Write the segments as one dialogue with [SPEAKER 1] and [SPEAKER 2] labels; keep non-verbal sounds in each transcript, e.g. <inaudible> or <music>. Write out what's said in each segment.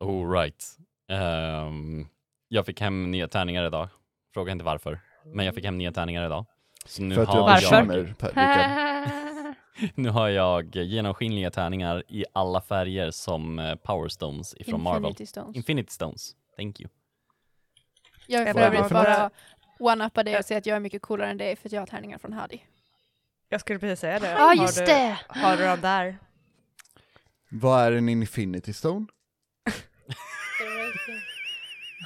[SPEAKER 1] All right. Ehm, jag fick hem nya tärningar idag. Fråga inte varför. Men jag fick hem nya tärningar idag. Så nu
[SPEAKER 2] För att du har
[SPEAKER 1] har,
[SPEAKER 3] Varför?
[SPEAKER 1] jag,
[SPEAKER 2] bekymmer, Per- Rickard.
[SPEAKER 1] <laughs> nu har jag genomskinliga tärningar i alla färger som eh, Power Stones ifrån Marvel.
[SPEAKER 3] Infinity Stones.
[SPEAKER 1] Infinity Stones. Thank
[SPEAKER 2] <laughs>
[SPEAKER 1] you.
[SPEAKER 3] Jag vill för
[SPEAKER 2] Vad är det
[SPEAKER 3] övrigt
[SPEAKER 2] för
[SPEAKER 3] bara one-uppa dig och säga att jag är mycket coolare än dig för att jag har tärningar från Hadi.
[SPEAKER 4] Jag skulle precis säga det.
[SPEAKER 3] Ja,
[SPEAKER 4] Har
[SPEAKER 3] just
[SPEAKER 4] du,
[SPEAKER 3] det!
[SPEAKER 4] Har du dem där?
[SPEAKER 2] <laughs> Vad är en infinity stone?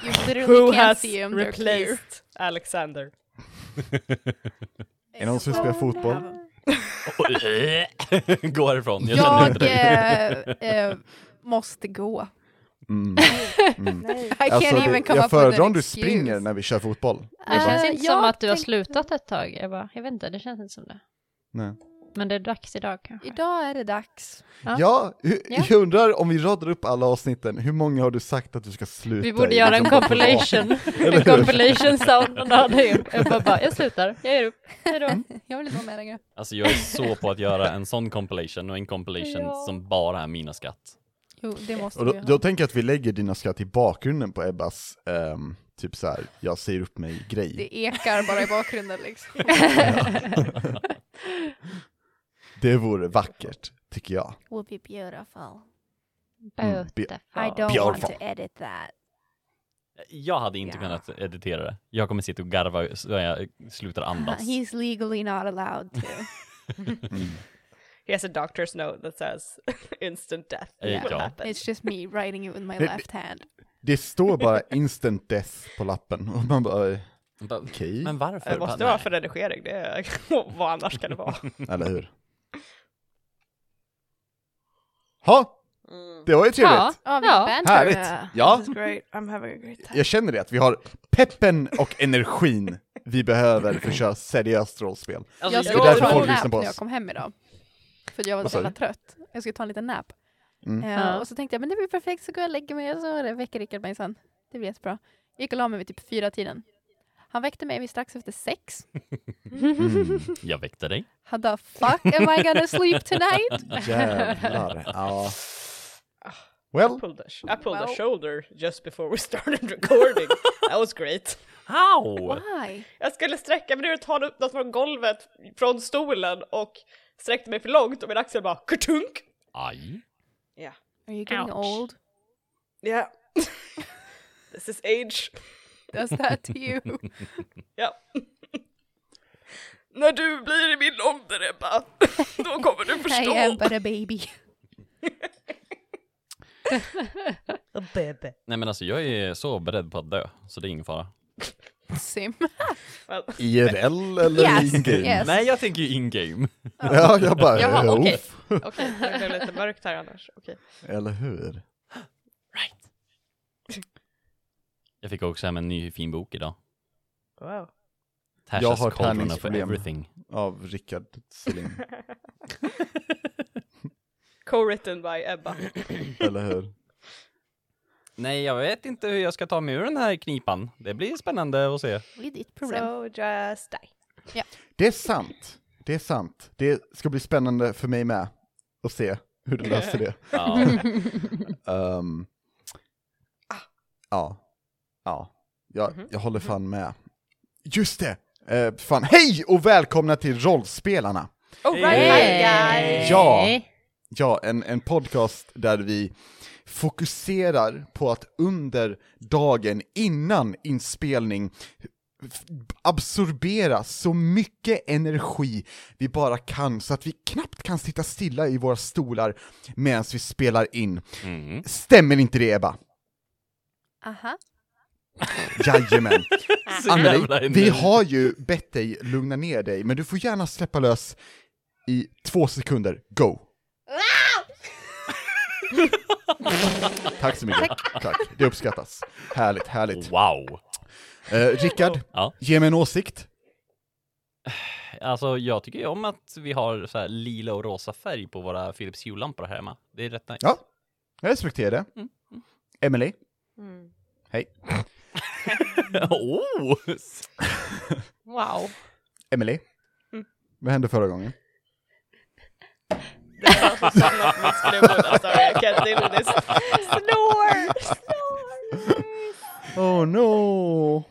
[SPEAKER 3] You literally
[SPEAKER 4] Who
[SPEAKER 3] can't
[SPEAKER 4] has
[SPEAKER 3] see them, they're clear.
[SPEAKER 4] replaced Alexander?
[SPEAKER 2] Är det någon som spelar fotboll?
[SPEAKER 1] <laughs> Gå härifrån. Jag, känner inte
[SPEAKER 3] Jag
[SPEAKER 1] dig.
[SPEAKER 3] eh, eh, måste gå.
[SPEAKER 2] Mm. Mm.
[SPEAKER 4] Nej.
[SPEAKER 3] I can't even
[SPEAKER 2] jag
[SPEAKER 3] come up with an
[SPEAKER 2] föredrar om du
[SPEAKER 3] excuse.
[SPEAKER 2] springer när vi kör fotboll.
[SPEAKER 3] Eh,
[SPEAKER 5] Det känns inte som
[SPEAKER 3] jag
[SPEAKER 5] att du har
[SPEAKER 3] tänkte-
[SPEAKER 5] slutat ett tag, Ebba. Jag vet inte, det känns inte som det.
[SPEAKER 2] Nej.
[SPEAKER 5] Men det är dags idag kanske.
[SPEAKER 3] Idag är det dags.
[SPEAKER 5] Ja.
[SPEAKER 2] Ja, hu-
[SPEAKER 5] Ja.
[SPEAKER 2] jag undrar om vi radar upp alla avsnitten, hur många har du sagt att du ska sluta
[SPEAKER 5] Vi borde
[SPEAKER 2] i?
[SPEAKER 5] göra en
[SPEAKER 2] Liksom, <laughs>
[SPEAKER 5] compilation,
[SPEAKER 2] Eller hur?
[SPEAKER 5] en compilation sound om Nadja. Ebba bara, jag slutar, jag ger upp, hejdå.
[SPEAKER 3] <laughs> Jag vill inte vara med längre.
[SPEAKER 1] Alltså jag är så på att göra en sån compilation och en compilation
[SPEAKER 5] Ja.
[SPEAKER 1] som bara är mina skatt.
[SPEAKER 3] Jo, det måste
[SPEAKER 2] Och
[SPEAKER 3] vi
[SPEAKER 2] då,
[SPEAKER 3] ju ha.
[SPEAKER 2] då tänker jag att vi lägger dina skratt i bakgrunden på Ebbas, ehm, typ så här, jag säger upp mig-grej.
[SPEAKER 3] Det ekar bara i bakgrunden
[SPEAKER 2] <laughs>
[SPEAKER 3] liksom.
[SPEAKER 2] Det vore vackert, tycker jag.
[SPEAKER 3] Would be beautiful.
[SPEAKER 2] Mm, be-
[SPEAKER 5] Beautiful.
[SPEAKER 2] want to
[SPEAKER 3] edit that.
[SPEAKER 1] Jag hade inte
[SPEAKER 3] Ja.
[SPEAKER 1] kunnat editera det. Jag kommer sitta och garva så jag slutar andas.
[SPEAKER 3] <laughs> He's legally not allowed to.
[SPEAKER 2] Mm.
[SPEAKER 4] He has a doctor's note that says <laughs> instant death
[SPEAKER 1] Eh,
[SPEAKER 4] will
[SPEAKER 1] ja.
[SPEAKER 4] happen.
[SPEAKER 3] It's just me writing it with my
[SPEAKER 2] Det-
[SPEAKER 3] left hand.
[SPEAKER 2] Det står bara instant death på lappen, och man bara, eh,
[SPEAKER 1] Bara,
[SPEAKER 2] okej,
[SPEAKER 1] Men varför?
[SPEAKER 4] Det måste
[SPEAKER 1] Bara,
[SPEAKER 4] vara
[SPEAKER 1] nej.
[SPEAKER 4] för redigering, det är, <laughs> vad annars kan det vara?
[SPEAKER 2] eller hur? Ha, Mm. det var ju trevligt.
[SPEAKER 5] Ja,
[SPEAKER 3] Ja, vi
[SPEAKER 5] Ja.
[SPEAKER 3] banter.
[SPEAKER 2] Härligt! Ja,
[SPEAKER 4] <laughs> great, I'm having a great
[SPEAKER 2] jag känner det, att vi har peppen och energin vi behöver för att köra seriöst rollspel.
[SPEAKER 1] Alltså,
[SPEAKER 3] Jag
[SPEAKER 2] det
[SPEAKER 3] skulle
[SPEAKER 1] jag-
[SPEAKER 2] är därför
[SPEAKER 3] ta
[SPEAKER 2] folk
[SPEAKER 3] en
[SPEAKER 2] lyssnar
[SPEAKER 3] nap
[SPEAKER 2] på
[SPEAKER 3] när
[SPEAKER 2] oss.
[SPEAKER 3] jag kom hem idag. För jag var
[SPEAKER 2] Vad
[SPEAKER 3] så
[SPEAKER 2] sa
[SPEAKER 3] jävla
[SPEAKER 2] du?
[SPEAKER 3] trött. Jag skulle ta en liten nap.
[SPEAKER 2] Mm.
[SPEAKER 3] Eh,
[SPEAKER 5] Ja.
[SPEAKER 3] Och så tänkte jag, men det blir perfekt, så går jag och lägger mig och så väcker Rickard mig sen. Det blir jättebra. Jag gick och la mig vid typ fyra tiden. Han väckte mig vid strax efter sex.
[SPEAKER 2] Mm.
[SPEAKER 1] Jag väckte dig.
[SPEAKER 3] How the fuck am I gonna
[SPEAKER 2] <laughs>
[SPEAKER 3] sleep tonight?
[SPEAKER 2] Jävlar. Ja. Well,
[SPEAKER 4] I pulled, a, sh- I pulled a
[SPEAKER 3] Well.
[SPEAKER 4] shoulder just before we <laughs> started recording. That was great.
[SPEAKER 1] How?
[SPEAKER 3] Why?
[SPEAKER 4] Jag skulle sträcka mig ner och ta upp något från golvet, från stolen och sträckte mig för långt och min axel bara kurtunk.
[SPEAKER 1] Aj.
[SPEAKER 4] Ja.
[SPEAKER 3] Are you getting
[SPEAKER 5] Ouch.
[SPEAKER 3] old?
[SPEAKER 4] Ja. <laughs> This is age.
[SPEAKER 3] Does
[SPEAKER 2] <laughs>
[SPEAKER 3] that to you?
[SPEAKER 4] Ja. När du blir i min ålder <laughs> Ebba, då kommer du
[SPEAKER 3] I
[SPEAKER 4] förstå.
[SPEAKER 3] am but a baby. <laughs>
[SPEAKER 1] Nej men alltså jag är så beredd på att dö, så det är ingen fara.
[SPEAKER 3] Sim.
[SPEAKER 4] Well,
[SPEAKER 2] IRL eller
[SPEAKER 3] Yes,
[SPEAKER 2] in-game?
[SPEAKER 3] yes.
[SPEAKER 1] Nej jag tänker ju in-game.
[SPEAKER 2] Ja, jag bara,
[SPEAKER 4] Jaha,
[SPEAKER 2] eh,
[SPEAKER 4] okej.
[SPEAKER 2] uff.
[SPEAKER 4] Okej, det blev lite mörkt här annars. Okej.
[SPEAKER 2] Eller hur?
[SPEAKER 1] Right. Jag fick också hem en ny fin bok idag.
[SPEAKER 4] Wow.
[SPEAKER 1] Tashas
[SPEAKER 2] Jag har
[SPEAKER 1] Cauldron of
[SPEAKER 2] tärningsproblem.
[SPEAKER 1] Everything.
[SPEAKER 2] Av Rickard Selin.
[SPEAKER 4] Co-written by Ebba.
[SPEAKER 2] Eller hur?
[SPEAKER 1] Nej jag vet inte hur jag ska ta mig ur den här knipan. Det blir spännande att se.
[SPEAKER 3] Det är ditt problem.
[SPEAKER 4] So just die.
[SPEAKER 2] Det är sant. Det är sant. Det ska bli spännande för mig med att se hur du löser det.
[SPEAKER 1] Ja.
[SPEAKER 2] Ehm, ja. Ja. Jag, jag håller fan med. Just det! Eh, fan. Hej och välkomna till Rollspelarna!
[SPEAKER 4] Oh
[SPEAKER 1] Hey.
[SPEAKER 4] right, hi guys!
[SPEAKER 2] Ja. Ja, en, en podcast där vi fokuserar på att under dagen innan inspelning f- absorbera så mycket energi vi bara kan så att vi knappt kan sitta stilla i våra stolar medan vi spelar in.
[SPEAKER 1] Mm.
[SPEAKER 2] Stämmer inte det Ebba?
[SPEAKER 3] Aha.
[SPEAKER 2] Jajamän!
[SPEAKER 3] Ah.
[SPEAKER 1] Så jävla
[SPEAKER 2] Anneli, vi
[SPEAKER 1] energi.
[SPEAKER 2] har ju bett dig lugna ner dig, men du får gärna släppa lös i två sekunder. Go! Tack så mycket. Tack. Det uppskattas. Härligt, härligt.
[SPEAKER 1] Wow.
[SPEAKER 2] Eh, Rickard,
[SPEAKER 1] Ja.
[SPEAKER 2] ge mig en åsikt.
[SPEAKER 1] Alltså jag tycker ju om att vi har så här lila och rosa färg på våra Philips Hue-lampor här hemma. Det är rätt nice.
[SPEAKER 2] Ja, jag respekterar det. Emily, hej.
[SPEAKER 1] <laughs> oh!
[SPEAKER 5] Wow.
[SPEAKER 2] Emily, vad hände förra gången?
[SPEAKER 4] Det känns som att mitt skrubbud, alltså, I can't deal with this.
[SPEAKER 3] Snore! Snore!
[SPEAKER 2] Oh no!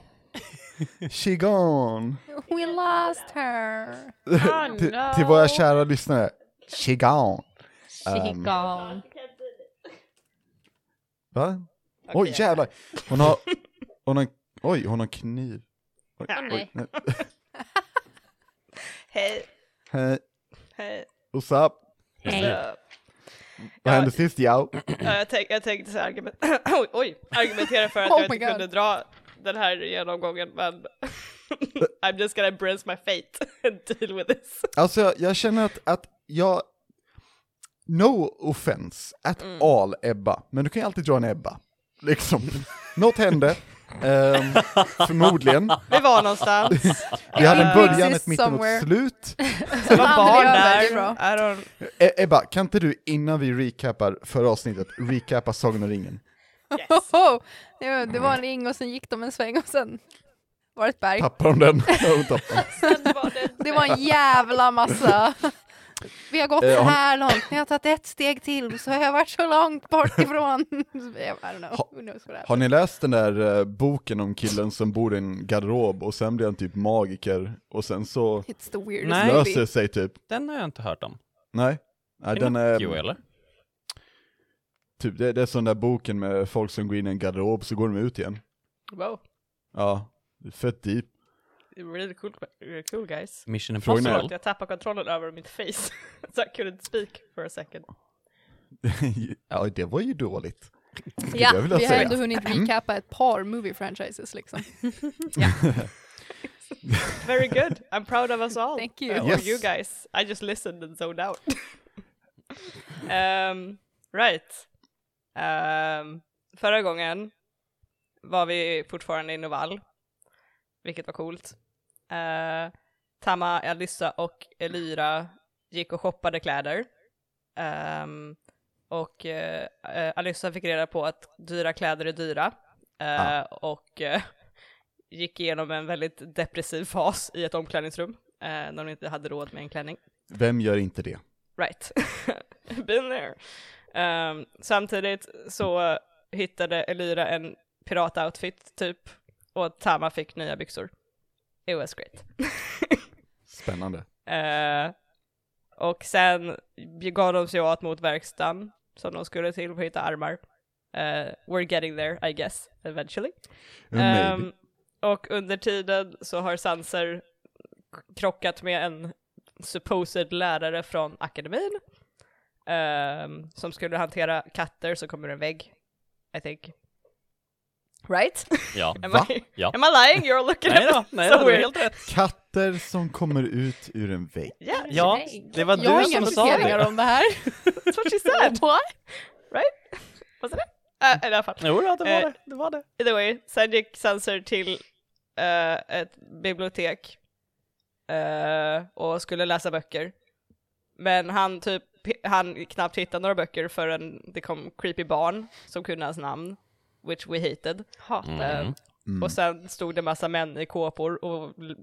[SPEAKER 2] She gone!
[SPEAKER 3] We lost her!
[SPEAKER 2] <laughs>
[SPEAKER 5] Oh,
[SPEAKER 2] Till-
[SPEAKER 5] no.
[SPEAKER 2] Till våra kära lyssnare, she gone!
[SPEAKER 5] She
[SPEAKER 2] Ehm.
[SPEAKER 5] gone.
[SPEAKER 2] Va? Oj
[SPEAKER 4] Okej.
[SPEAKER 2] jävlar! Hon har, hon har, oj hon har kniv. Oj,
[SPEAKER 4] Ja,
[SPEAKER 5] nej.
[SPEAKER 2] nej.
[SPEAKER 4] Hej,
[SPEAKER 2] Hej,
[SPEAKER 4] hej.
[SPEAKER 2] what's up?
[SPEAKER 5] Nej.
[SPEAKER 4] Så- Ja.
[SPEAKER 2] Vad hände sist yo?
[SPEAKER 4] Ja, jag, tänk, jag tänkte så här, argument, <coughs> oj, oj, argumentera för att
[SPEAKER 3] Oh
[SPEAKER 4] jag
[SPEAKER 3] my
[SPEAKER 4] inte
[SPEAKER 3] God.
[SPEAKER 4] kunde dra den här genomgången men <laughs> I'm just gonna embrace my fate and deal with this.
[SPEAKER 2] Alltså jag, jag känner att, att jag, no offense at all Ebba, men du kan ju alltid dra en Ebba. Liksom, <laughs> något hände, ehm, förmodligen.
[SPEAKER 4] Vi var
[SPEAKER 3] <laughs>
[SPEAKER 4] någonstans,
[SPEAKER 2] Vi hade en
[SPEAKER 4] It
[SPEAKER 2] början, ett
[SPEAKER 3] exists
[SPEAKER 2] mitten och
[SPEAKER 3] somewhere.
[SPEAKER 2] ett slut.
[SPEAKER 4] det var barn
[SPEAKER 3] Andrea, det
[SPEAKER 4] där,
[SPEAKER 3] är bra.
[SPEAKER 4] I don't...
[SPEAKER 2] E Ebba, kan inte du innan vi recapar förra avsnittet, recapa Sagan om ringen?
[SPEAKER 3] <laughs>
[SPEAKER 4] Yes.
[SPEAKER 3] Hoho! Det var- Det var en ring och sen gick de en sväng och sen var det ett berg.
[SPEAKER 2] Tappar hon den? Ja, hon tappar den.
[SPEAKER 3] Det var en
[SPEAKER 2] <laughs>
[SPEAKER 3] jävla massa. Vi har gått
[SPEAKER 2] Eh,
[SPEAKER 3] så
[SPEAKER 2] har-
[SPEAKER 3] här långt, jag har tagit ett steg till, så har jag varit så långt
[SPEAKER 2] <laughs>
[SPEAKER 3] bort ifrån. I don't know, who knows what
[SPEAKER 2] Har ni läst den där eh, boken om killen som bor i en garderob och sen blir han typ magiker och sen så
[SPEAKER 3] It's the weirdest
[SPEAKER 1] Nej.
[SPEAKER 2] löser
[SPEAKER 3] movie.
[SPEAKER 2] det sig typ?
[SPEAKER 1] Den har jag inte hört om.
[SPEAKER 2] Nej? Nej, den
[SPEAKER 1] Jo,
[SPEAKER 2] är,
[SPEAKER 1] eller?
[SPEAKER 2] typ, det, det är sån där boken med folk som går in i en garderob så går de ut igen.
[SPEAKER 4] Wow,
[SPEAKER 2] Ja, det är fett deep. <laughs>
[SPEAKER 4] really cool, really eh, cool guys.
[SPEAKER 1] Mission
[SPEAKER 2] Frågan är-
[SPEAKER 4] Förlåt,
[SPEAKER 1] Impossible.
[SPEAKER 4] jag tappade kontrollen över mitt face. <laughs> so I couldn't speak for a second.
[SPEAKER 2] ja, det var ju dåligt.
[SPEAKER 5] Ja,
[SPEAKER 2] jag vilja
[SPEAKER 3] Vi har
[SPEAKER 2] säga. Mm.
[SPEAKER 3] ändå hunnit recapa ett par movie franchises liksom.
[SPEAKER 4] Very good, I'm proud of us all.
[SPEAKER 3] Thank you.
[SPEAKER 4] Uh,
[SPEAKER 2] Yes.
[SPEAKER 4] Or you guys, I just listened and zoned out. <laughs> um, right. Um, förra gången var vi fortfarande i Novall, vilket var coolt. Eh, Tama, Alyssa och Elira gick och shoppade kläder. Ehm, och eh, eh, Alyssa fick reda på att dyra kläder är dyra. Eh, Och eh, gick igenom en väldigt depressiv fas i ett omklädningsrum eh, när hon inte hade råd med en klänning.
[SPEAKER 2] Vem gör inte det?
[SPEAKER 4] Right. <laughs> Been there. Ehm, samtidigt så hittade Elira en piratoutfit typ och Tama fick nya byxor. It was great. <laughs>
[SPEAKER 2] Spännande.
[SPEAKER 4] Eh, och sen gav de sig åt mot verkstaden som de skulle till för att hitta armar. Eh, we're getting there, I guess, eventually.
[SPEAKER 2] Maybe.
[SPEAKER 4] Ehm, och under tiden så har Sanser krockat med en supposed lärare från akademin ehm, som skulle hantera katter så kommer en vägg, I think. Right?
[SPEAKER 1] Ja.
[SPEAKER 4] Am,
[SPEAKER 2] Va?
[SPEAKER 4] I,
[SPEAKER 1] Ja.
[SPEAKER 4] am I lying? You're looking
[SPEAKER 1] Nej
[SPEAKER 4] at
[SPEAKER 1] då,
[SPEAKER 4] me
[SPEAKER 1] nej
[SPEAKER 4] so
[SPEAKER 1] då, du är
[SPEAKER 4] weird.
[SPEAKER 1] helt rätt.
[SPEAKER 2] Katter som kommer ut ur en vägg.
[SPEAKER 4] Yeah,
[SPEAKER 1] Ja, det var
[SPEAKER 3] Jag har
[SPEAKER 1] du
[SPEAKER 3] inga
[SPEAKER 1] som sa
[SPEAKER 3] funderingar
[SPEAKER 1] det.
[SPEAKER 3] om det här.
[SPEAKER 4] that's what she
[SPEAKER 1] <laughs>
[SPEAKER 4] said.
[SPEAKER 3] What?
[SPEAKER 4] Vad sa du? Eh, I alla fall.
[SPEAKER 1] Jo, ja, det var
[SPEAKER 4] Eh,
[SPEAKER 1] det. det, var det.
[SPEAKER 4] Either way, sen gick Sensor till eh, ett bibliotek eh, och skulle läsa böcker. Men han typ, han knappt hittade några böcker förrän det kom creepy barn som kunde hans namn, which we hated. Eh,
[SPEAKER 1] Mm.
[SPEAKER 2] Mm.
[SPEAKER 4] Och sen stod det massa män i kåpor och l-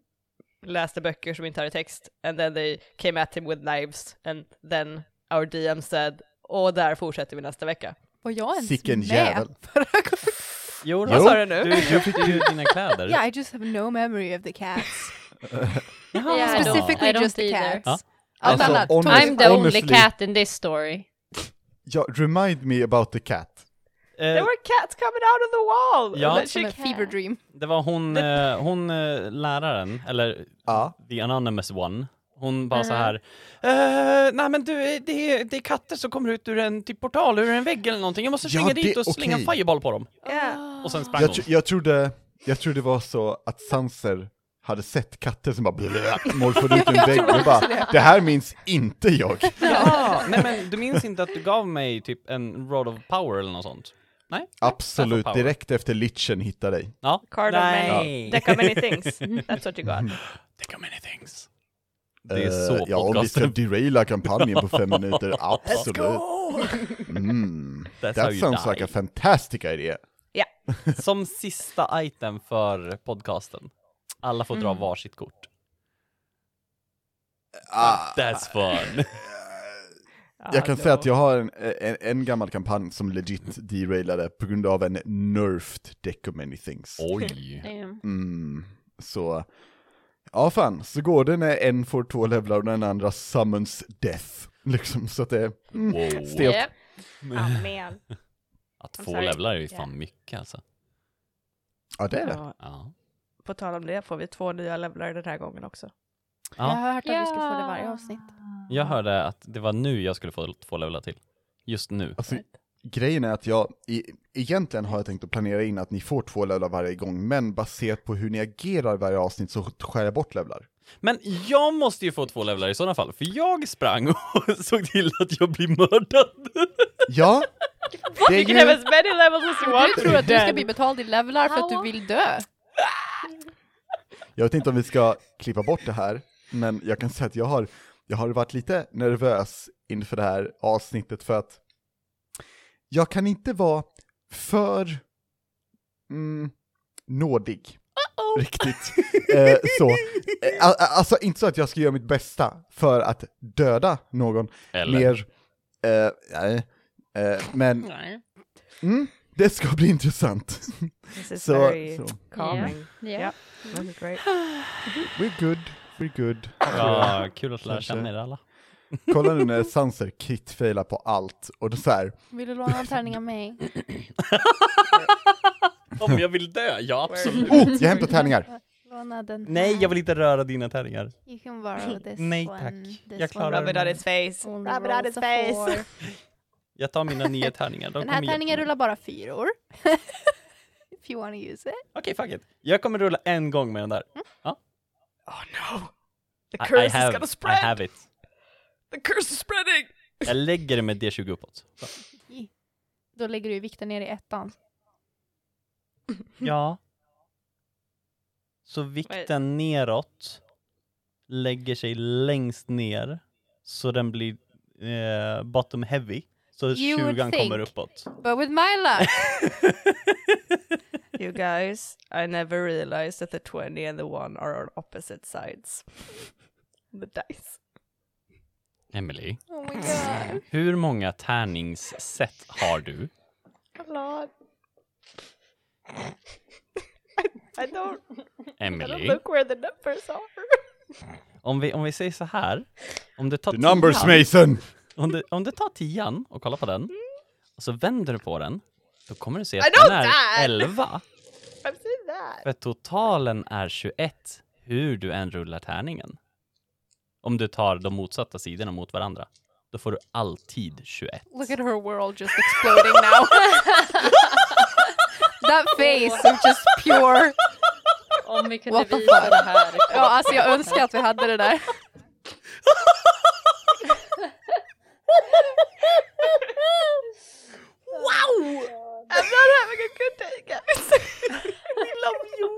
[SPEAKER 4] läste böcker som inte hade text. And then they came at him with knives and then our DM said, och där fortsätter vi nästa vecka.
[SPEAKER 3] Var jag ens
[SPEAKER 2] Sicken
[SPEAKER 3] med <laughs>
[SPEAKER 2] jävel.
[SPEAKER 3] förra gången?
[SPEAKER 1] Jo,
[SPEAKER 4] Vad sa du nu?
[SPEAKER 1] Du köpte ju dina kläder.
[SPEAKER 3] Yeah, I just have no memory of the cats.
[SPEAKER 1] Jaha.
[SPEAKER 5] Yeah, I don't-
[SPEAKER 3] Specifically
[SPEAKER 5] I don't
[SPEAKER 3] just the
[SPEAKER 5] either.
[SPEAKER 3] cats.
[SPEAKER 1] Ja.
[SPEAKER 3] Allt
[SPEAKER 2] Alltså,
[SPEAKER 3] annat.
[SPEAKER 2] om-
[SPEAKER 3] totally
[SPEAKER 5] I'm the only
[SPEAKER 2] Honestly.
[SPEAKER 5] cat in this story.
[SPEAKER 2] <laughs> Ja, remind me about the cat.
[SPEAKER 4] There
[SPEAKER 1] Eh,
[SPEAKER 4] were cats coming out of the wall!
[SPEAKER 1] Ja.
[SPEAKER 4] And then
[SPEAKER 3] Som
[SPEAKER 4] she
[SPEAKER 3] en fever dream.
[SPEAKER 1] det var hon, eh, hon eh, läraren, eller
[SPEAKER 2] Ja.
[SPEAKER 1] the anonymous one. Hon bara så här, eh, nej men du, eh, det är, det är katter som kommer ut ur en typ portal, ur en vägg eller någonting. Jag måste
[SPEAKER 2] Ja,
[SPEAKER 1] springa dit
[SPEAKER 2] det-
[SPEAKER 1] och slänga en
[SPEAKER 2] okej.
[SPEAKER 1] fireball på dem.
[SPEAKER 4] Yeah.
[SPEAKER 1] Och sen sprang
[SPEAKER 2] Jag,
[SPEAKER 1] hon.
[SPEAKER 2] tro- jag, trodde, jag trodde det var så att Sanser hade sett katter som bara blö, morfade ut en vägg och bara, det här minns inte
[SPEAKER 1] <laughs>
[SPEAKER 2] jag.
[SPEAKER 1] Alltså, Ja, nej men du minns inte att du gav mig typ en rod of power eller något sånt? Nej?
[SPEAKER 2] Absolut,
[SPEAKER 1] Power.
[SPEAKER 2] direkt efter Litchen hittade dig.
[SPEAKER 1] Ja.
[SPEAKER 4] Card of many, deck of
[SPEAKER 2] <laughs>
[SPEAKER 4] many things. That's what you got.
[SPEAKER 1] Deck of many things. Det är
[SPEAKER 2] Eh,
[SPEAKER 1] så
[SPEAKER 2] Ja, om vi ska
[SPEAKER 1] podcasten.
[SPEAKER 2] deraila kampanjen på
[SPEAKER 1] <laughs>
[SPEAKER 2] fem minuter, absolut. Mm.
[SPEAKER 1] That's how
[SPEAKER 2] That
[SPEAKER 1] you
[SPEAKER 2] sounds
[SPEAKER 1] die.
[SPEAKER 2] like a fantastic idea.
[SPEAKER 1] Som sista item för podcasten. Alla får
[SPEAKER 4] Mm.
[SPEAKER 1] dra varsitt kort.
[SPEAKER 2] Ah,
[SPEAKER 1] That's fun.
[SPEAKER 2] Jag kan säga att jag har en, en, en gammal kampanj som legit derailade på grund av en nerfed deck of many things.
[SPEAKER 1] Oj.
[SPEAKER 3] Damn.
[SPEAKER 2] Mm, så, ja fan, så går det när en får två levlar och den andra summons death. Liksom, så att det, mm,
[SPEAKER 1] Wow.
[SPEAKER 2] stelt.
[SPEAKER 5] Japp.
[SPEAKER 4] Amen.
[SPEAKER 1] Att
[SPEAKER 4] I'm
[SPEAKER 1] få
[SPEAKER 4] sorry.
[SPEAKER 1] levlar är ju fan mycket alltså.
[SPEAKER 2] ja det är det.
[SPEAKER 4] Ja,
[SPEAKER 1] Ja.
[SPEAKER 4] på tal om det får vi två nya levlar den här gången också.
[SPEAKER 3] Jag
[SPEAKER 1] ja.
[SPEAKER 3] har hört att vi ska få det varje avsnitt.
[SPEAKER 1] Jag hörde att det var nu jag skulle få två levlar till. Just nu.
[SPEAKER 2] Alltså, grejen är att jag, i, egentligen har jag tänkt att planera in att ni får två levlar varje gång, men baserat på hur ni agerar varje avsnitt så skär jag bort levlar.
[SPEAKER 1] Men jag måste ju få två levlar i sådana fall, för jag sprang och <laughs> såg till att jag blir mördad.
[SPEAKER 2] Ja, det
[SPEAKER 4] You can have as many levels as you want.
[SPEAKER 3] Du tror att du ska bli betald i levlar för att du
[SPEAKER 5] Hallå?
[SPEAKER 3] vill dö.
[SPEAKER 2] Jag vet inte om vi ska klippa bort det här, men jag kan säga att jag har, jag har varit lite nervös inför det här avsnittet för att jag kan inte vara för mm, nådig. Riktigt. Eh, så. Eh, a- a- alltså inte så att jag ska göra mitt bästa för att döda någon.
[SPEAKER 1] Eller?
[SPEAKER 2] Mer, eh, nej, eh, men
[SPEAKER 5] Nej.
[SPEAKER 2] mm, det ska bli intressant.
[SPEAKER 4] This is
[SPEAKER 2] Så,
[SPEAKER 4] very
[SPEAKER 2] så.
[SPEAKER 4] calming.
[SPEAKER 5] Ja.
[SPEAKER 4] This is great.
[SPEAKER 2] We're good, we're good.
[SPEAKER 1] Ja, kul att lära
[SPEAKER 2] Kanske.
[SPEAKER 1] känna er alla.
[SPEAKER 2] Kolla nu när Sanser kritfailar på allt, och då så här,
[SPEAKER 3] Vill du låna en tärning av mig?
[SPEAKER 1] Om jag vill dö, ja absolut.
[SPEAKER 2] oh, jag hämtar tärningar!
[SPEAKER 3] Låna den här.
[SPEAKER 1] Nej, jag vill inte röra dina tärningar.
[SPEAKER 3] You can borrow
[SPEAKER 1] <laughs>
[SPEAKER 3] this
[SPEAKER 1] Nej,
[SPEAKER 3] one.
[SPEAKER 1] tack.
[SPEAKER 3] This
[SPEAKER 1] Jag klarar
[SPEAKER 4] Rub
[SPEAKER 3] one.
[SPEAKER 4] it on his face.
[SPEAKER 3] Only
[SPEAKER 4] Oh, Rub it on
[SPEAKER 3] rolls
[SPEAKER 4] his face.
[SPEAKER 3] a four.
[SPEAKER 1] Jag tar mina
[SPEAKER 3] <laughs>
[SPEAKER 1] nio tärningar. De
[SPEAKER 3] Den här
[SPEAKER 1] kommer ge-
[SPEAKER 3] tärningen rullar bara fyror. <laughs> If you wanna use it.
[SPEAKER 1] Okej, fuck it. Jag kommer rulla en gång med den där.
[SPEAKER 4] Oh no! The
[SPEAKER 1] I-
[SPEAKER 4] curse
[SPEAKER 1] I
[SPEAKER 4] is
[SPEAKER 1] have,
[SPEAKER 4] gonna
[SPEAKER 1] I
[SPEAKER 4] spread!
[SPEAKER 1] have it.
[SPEAKER 4] The curse is spreading!
[SPEAKER 1] Jag lägger det med D20 uppåt. Så.
[SPEAKER 3] Då lägger du vikten ner i ettan.
[SPEAKER 1] Ja. Så vikten neråt lägger sig längst ner så den blir eh, bottom heavy. Så
[SPEAKER 3] You would
[SPEAKER 1] tjugan kommer
[SPEAKER 3] think.
[SPEAKER 1] uppåt.
[SPEAKER 3] But with my
[SPEAKER 1] <laughs>
[SPEAKER 3] luck!
[SPEAKER 4] You guys, I never realized that the 20 and the 1 are on opposite sides. <laughs> The dice.
[SPEAKER 1] Emily,
[SPEAKER 3] Oh my god.
[SPEAKER 1] hur många tärningssätt har
[SPEAKER 4] <laughs>
[SPEAKER 1] du?
[SPEAKER 4] A lot. <laughs> I, I don't, I don't
[SPEAKER 1] Emily,
[SPEAKER 4] look where the numbers are.
[SPEAKER 1] om vi, om vi säger så här. Om du tar
[SPEAKER 2] The numbers
[SPEAKER 1] tian,
[SPEAKER 2] Mason!
[SPEAKER 1] om du, om du tar tian och kollar på den och så vänder du på den, då kommer du se
[SPEAKER 4] I
[SPEAKER 1] att
[SPEAKER 4] know
[SPEAKER 1] den
[SPEAKER 4] that!
[SPEAKER 1] är 11.
[SPEAKER 4] <laughs> I've seen that.
[SPEAKER 1] För totalen är 21 hur du än rullar tärningen. Om du tar de motsatta sidorna mot varandra, då får du alltid 21.
[SPEAKER 3] Look at her world just exploding now. <laughs> That face of just pure...
[SPEAKER 5] Om vi kunde
[SPEAKER 3] What the
[SPEAKER 5] visa
[SPEAKER 3] fuck?
[SPEAKER 5] det här.
[SPEAKER 3] Ja, alltså jag önskar att vi hade det där.
[SPEAKER 4] <laughs> I'm not having a good day, guys. we love you.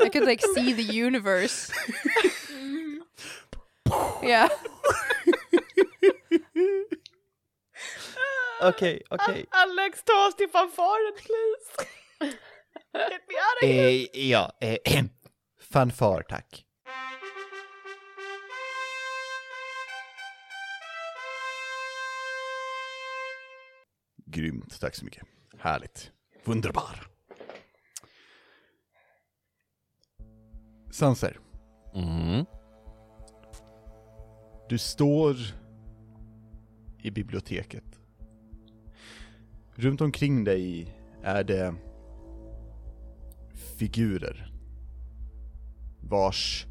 [SPEAKER 3] I could like see the <laughs> universe. Yeah.
[SPEAKER 1] Okej, okej.
[SPEAKER 4] <laughs> Alex, ta oss till fanfaren, please. Get me out of here.
[SPEAKER 2] Eh, ja, eh, <clears throat> fanfar tack. Grymt, tack så mycket. Härligt. Wunderbar. Sanser,
[SPEAKER 1] Mm.
[SPEAKER 2] Du står i biblioteket. Runt omkring dig är det figurer vars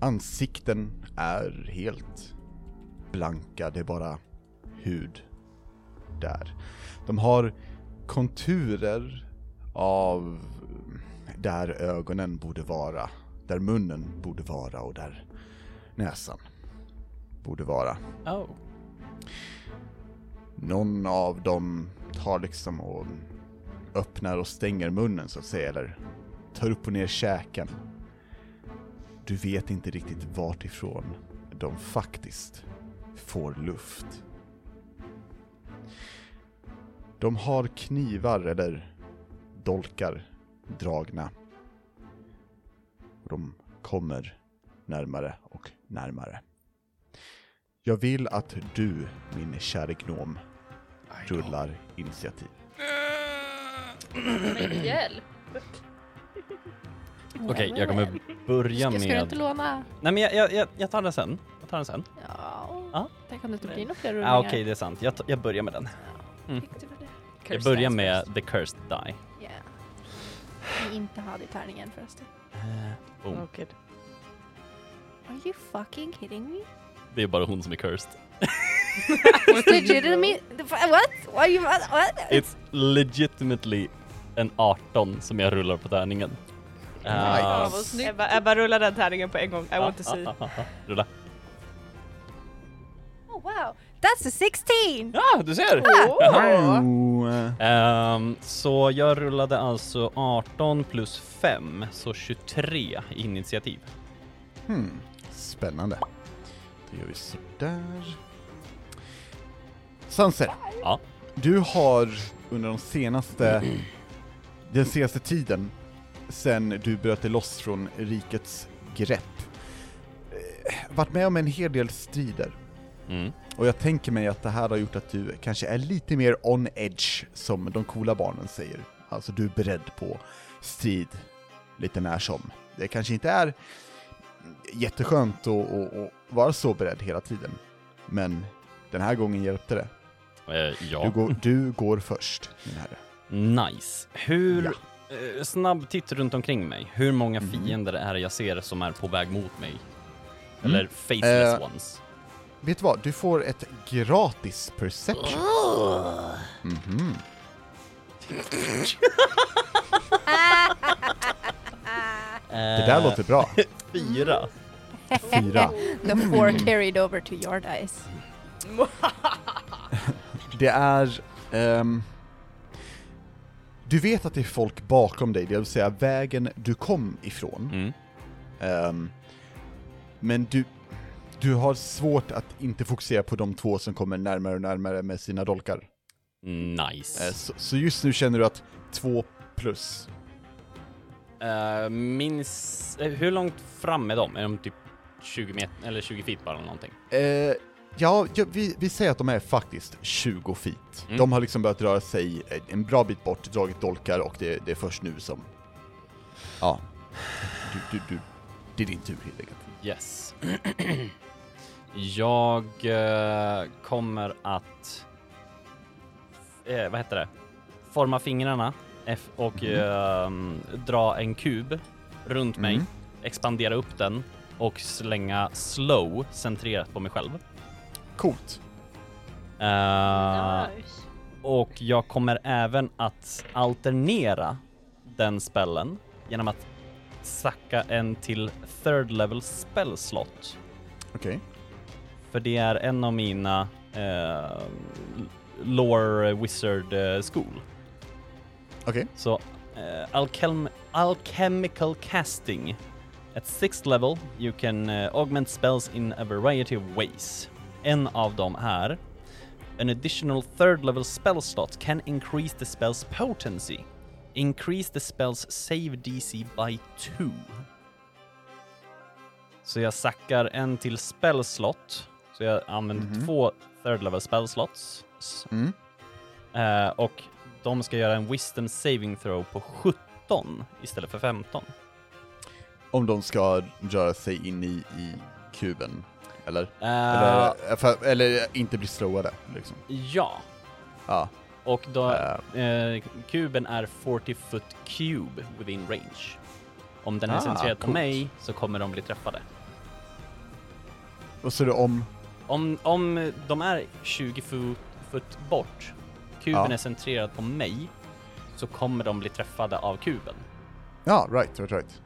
[SPEAKER 2] ansikten är helt blanka, det är bara hud där. De har konturer av där ögonen borde vara, där munnen borde vara och där näsan borde vara.
[SPEAKER 1] Oh.
[SPEAKER 2] Någon av dem tar liksom och öppnar och stänger munnen så att säga, eller tar upp och ner käken. Du vet inte riktigt vart ifrån de faktiskt får luft. De har knivar eller dolkar dragna. Och de kommer närmare och närmare. Jag vill att du, min kära gnom, rullar initiativ.
[SPEAKER 5] Men hjälp!
[SPEAKER 1] Okej, jag kommer börja
[SPEAKER 3] Ska, ska du
[SPEAKER 1] med...
[SPEAKER 3] inte låna?
[SPEAKER 1] Nej men jag, jag, jag, jag tar den sen. Jag tar den sen.
[SPEAKER 3] Ja.
[SPEAKER 1] Ja.
[SPEAKER 3] Tänk om det inte blir några fler
[SPEAKER 1] Ah,
[SPEAKER 3] rullningar.
[SPEAKER 1] Okej, det är sant. Jag, ta- jag börjar med den. mm.
[SPEAKER 3] Tyckte du det?
[SPEAKER 1] Jag
[SPEAKER 4] Cursed
[SPEAKER 1] börjar
[SPEAKER 4] hands
[SPEAKER 1] med the cursed die.
[SPEAKER 3] Yeah. Vi inte hade tärningen förresten.
[SPEAKER 1] Eh,
[SPEAKER 4] first.
[SPEAKER 1] Boom.
[SPEAKER 4] Oh, gud.
[SPEAKER 3] Are you fucking kidding me?
[SPEAKER 1] Det är bara hon som är cursed.
[SPEAKER 3] Legitimate? What? Why you what?
[SPEAKER 1] It's legitimately en 18 som jag rullar på tärningen.
[SPEAKER 2] Oh
[SPEAKER 1] Ah. ah,
[SPEAKER 2] Nice.
[SPEAKER 5] Ja, vad snyggt.
[SPEAKER 4] Ebba, Ebba rullar den tärningen på en gång, I want to see.
[SPEAKER 1] Rulla.
[SPEAKER 3] Oh wow, that's a 16!
[SPEAKER 2] Ah,
[SPEAKER 1] Ja, du ser!
[SPEAKER 3] Ah.
[SPEAKER 2] Wow.
[SPEAKER 1] Ehm, så jag rullade alltså 18 plus 5, så 23 i initiativ.
[SPEAKER 2] Hmm. Spännande. Då gör vi sådär. Sanser,
[SPEAKER 1] Ja.
[SPEAKER 2] du har under de senaste, <clears throat> den senaste tiden, sen du bröt dig loss från rikets grepp, eh, varit med om en hel del strider.
[SPEAKER 1] Mm.
[SPEAKER 2] Och jag tänker mig att det här har gjort att du kanske är lite mer on edge, som de coola barnen säger. Alltså du är beredd på strid lite när som. Det kanske inte är jätteskönt att, att, att vara så beredd hela tiden, men den här gången hjälpte det.
[SPEAKER 1] Eh, ja.
[SPEAKER 2] Du, går, du går först, min herre.
[SPEAKER 1] Nice. Hur... eh, Snabb titt runt omkring mig. Hur många
[SPEAKER 2] Mhm.
[SPEAKER 1] fiender är det jag ser som är på väg mot mig? Eller faceless
[SPEAKER 2] Mm. Eh.
[SPEAKER 1] ones?
[SPEAKER 2] Vet du vad? Du får ett gratis perception. Mhm. Det
[SPEAKER 1] Eh.
[SPEAKER 2] där låter bra.
[SPEAKER 1] Fyra.
[SPEAKER 2] Fyra.
[SPEAKER 3] The four carried over to your dice.
[SPEAKER 2] Det är... ehm, du vet att det är folk bakom dig, det vill säga vägen du kom ifrån.
[SPEAKER 1] Mm.
[SPEAKER 2] Ehm, men du, du har svårt att inte fokusera på de två som kommer närmare och närmare med sina dolkar.
[SPEAKER 1] Nice.
[SPEAKER 2] Eh, så, så just nu känner du att två plus.
[SPEAKER 1] Eh, minns... eh, hur långt fram är de? Är de typ 20 meter, eller 20 feet bara eller någonting?
[SPEAKER 2] Eh, ja, ja vi, vi säger att de är faktiskt 20 feet.
[SPEAKER 1] Mm.
[SPEAKER 2] De har liksom börjat röra sig eh, en bra bit bort, dragit dolkar och det, det är först nu som... Ja. Du, du, du. Det är din tur helt enkelt.
[SPEAKER 1] Yes. <clears throat> jag eh, kommer att... Eh, vad heter det? Forma fingrarna F och ehm, dra en kub runt mig,
[SPEAKER 2] Mm.
[SPEAKER 1] expandera upp den och slänga slow centrerat på mig själv.
[SPEAKER 2] Coolt.
[SPEAKER 1] Eh,
[SPEAKER 5] Nice.
[SPEAKER 1] Och jag kommer även att alternera den spellen genom att sacka en till third level spell slot.
[SPEAKER 2] Okej.
[SPEAKER 1] För det är en av mina eh, lore wizard eh, school.
[SPEAKER 2] Okej.
[SPEAKER 1] Så eh, alchem alchemical casting. At sixth level you can eh, augment spells in a variety of ways. En av dem är An additional third level spell slot can increase the spell's potency. Increase the spell's save DC by 2. Så jag sackar en till spell slot. Så jag använder två third level spell slots. S-
[SPEAKER 2] Mm.
[SPEAKER 1] Eh, och de ska göra en wisdom saving throw på 17 istället för 15.
[SPEAKER 2] Om de ska röra sig in i, i kuben. Eller?
[SPEAKER 1] Eh,
[SPEAKER 2] Eller, för, eller inte bli slowade, liksom.
[SPEAKER 1] Ja,
[SPEAKER 2] Ja.
[SPEAKER 1] och då,
[SPEAKER 2] Eh.
[SPEAKER 1] eh, kuben är 40 foot cube within range. Om den är
[SPEAKER 2] Ah,
[SPEAKER 1] centrerad på
[SPEAKER 2] coolt.
[SPEAKER 1] mig så kommer de bli träffade.
[SPEAKER 2] Vad säger du om...
[SPEAKER 1] Om, om de är 20 foot, foot bort, kuben
[SPEAKER 2] Ja.
[SPEAKER 1] är centrerad på mig, så kommer de bli träffade av kuben.
[SPEAKER 2] Ja, right, right, right.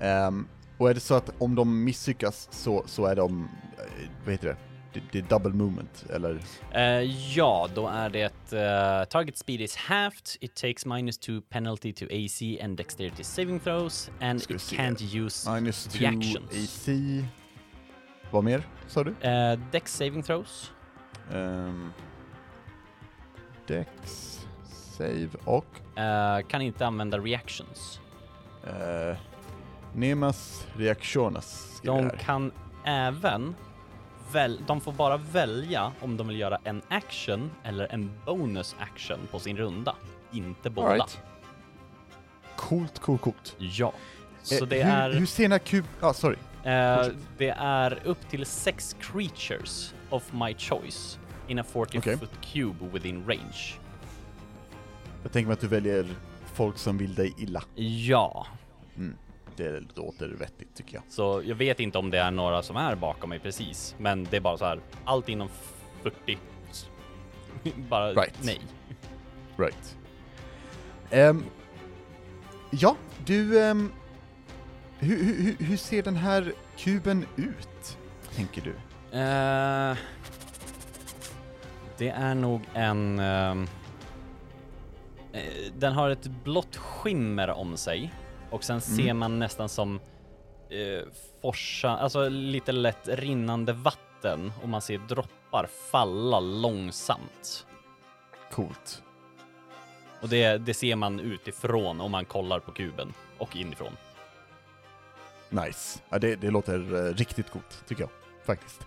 [SPEAKER 2] Ehm, och är det så att om de misslyckas så, så är de, eh, vad heter det? det? Det är double movement, eller?
[SPEAKER 1] Eh, ja, då är det eh, target speed is halved, it takes minus two penalty to AC and dexterity saving throws and
[SPEAKER 2] Ska vi
[SPEAKER 1] it
[SPEAKER 2] se.
[SPEAKER 1] can't use
[SPEAKER 2] Minus 2
[SPEAKER 1] reactions.
[SPEAKER 2] AC. Vad mer, sa du?
[SPEAKER 1] Eh, dex saving throws.
[SPEAKER 2] Um, Dex, save och...
[SPEAKER 1] eh, kan inte använda reactions.
[SPEAKER 2] eh, Nemas reaktionas skriver
[SPEAKER 1] De
[SPEAKER 2] här.
[SPEAKER 1] kan även väl, de får bara välja om de vill göra en action eller en bonus action på sin runda. Inte båda.
[SPEAKER 2] Alright. Coolt, coolt, coolt.
[SPEAKER 1] Ja. Så
[SPEAKER 2] Eh,
[SPEAKER 1] det
[SPEAKER 2] hur,
[SPEAKER 1] är...
[SPEAKER 2] Hur sena kub... Ah, sorry.
[SPEAKER 1] Eh, det är upp till sex creatures of my choice in a 40
[SPEAKER 2] Okej.
[SPEAKER 1] foot cube within range.
[SPEAKER 2] Jag tänker mig att du väljer folk som vill dig illa.
[SPEAKER 1] Ja,
[SPEAKER 2] Det låter vettigt tycker jag.
[SPEAKER 1] så jag vet inte om det är några som är bakom mig precis, men det är bara så här, allt inom 40. <laughs> bara
[SPEAKER 2] Right.
[SPEAKER 1] nej.
[SPEAKER 2] Right. Ehm, ja, du... ehm, hur, hur, hur- hur ser den här kuben ut? Tänker du?
[SPEAKER 1] Eh, det är nog en... ehm, eh, den har ett blått skimmer om sig och sen ser man nästan som uh, forsa, alltså lite lätt rinnande vatten och man ser droppar falla långsamt.
[SPEAKER 2] Coolt.
[SPEAKER 1] Och det, det ser man utifrån om man kollar på kuben och inifrån.
[SPEAKER 2] Nice. Ja, det, det låter eh, riktigt coolt, tycker jag. Faktiskt.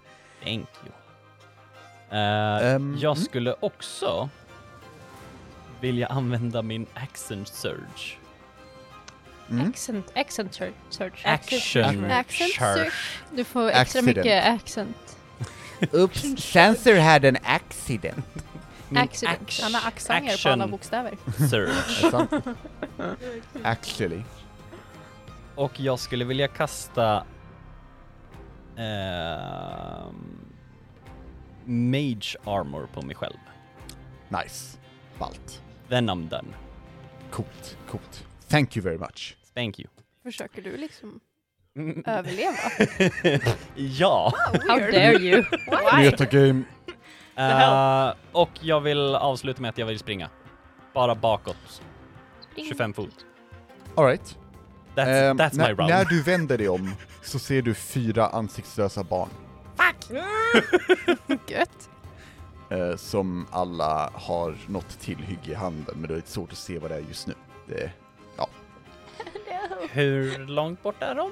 [SPEAKER 1] Thank you. Eh,
[SPEAKER 2] Ehm,
[SPEAKER 1] jag
[SPEAKER 2] mm.
[SPEAKER 1] skulle också vilja använda min action surge.
[SPEAKER 2] Mm.
[SPEAKER 5] Accent, accent sur- search.
[SPEAKER 1] Action,
[SPEAKER 3] Accent
[SPEAKER 1] surge.
[SPEAKER 5] Du får extra
[SPEAKER 2] Accident.
[SPEAKER 5] mycket accent.
[SPEAKER 2] <laughs> Oops, Sensor had an accident.
[SPEAKER 1] Min
[SPEAKER 5] Accident.
[SPEAKER 1] Mm, action,
[SPEAKER 3] Han har accenter på alla bokstäver.
[SPEAKER 2] <laughs>
[SPEAKER 1] surge.
[SPEAKER 2] Actually.
[SPEAKER 1] Och jag skulle vilja kasta ehm, mage armor på mig själv.
[SPEAKER 2] Nice. Ballt.
[SPEAKER 1] Then I'm done.
[SPEAKER 2] Coolt, coolt. Thank you very much.
[SPEAKER 1] Thank you.
[SPEAKER 3] Försöker du liksom
[SPEAKER 1] Mm.
[SPEAKER 3] överleva?
[SPEAKER 1] ja.
[SPEAKER 5] How dare you?
[SPEAKER 1] <laughs>
[SPEAKER 2] Metagame.
[SPEAKER 1] Eh, och jag vill avsluta med att jag vill springa. Bara bakåt. 25 fot.
[SPEAKER 2] Alright.
[SPEAKER 1] That's, that's my
[SPEAKER 2] Eh, Ehm, när,
[SPEAKER 1] round. <laughs>
[SPEAKER 2] när du vänder dig om så ser du fyra ansiktslösa barn
[SPEAKER 1] <laughs>
[SPEAKER 3] Gött.
[SPEAKER 2] eh, som alla har något tillhygge i handen men det är lite svårt att se vad det är just nu. Det, ja.
[SPEAKER 1] Hur långt bort är de?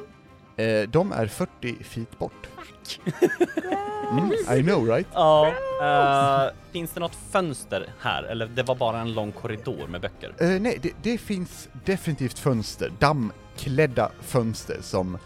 [SPEAKER 2] eh, de är 40 feet bort. <laughs> Mm, I know right?
[SPEAKER 1] Ja. eh, finns det något fönster här? Eller det var bara en lång korridor med böcker?
[SPEAKER 2] Eh, nej, det, det finns definitivt fönster, dammklädda fönster som,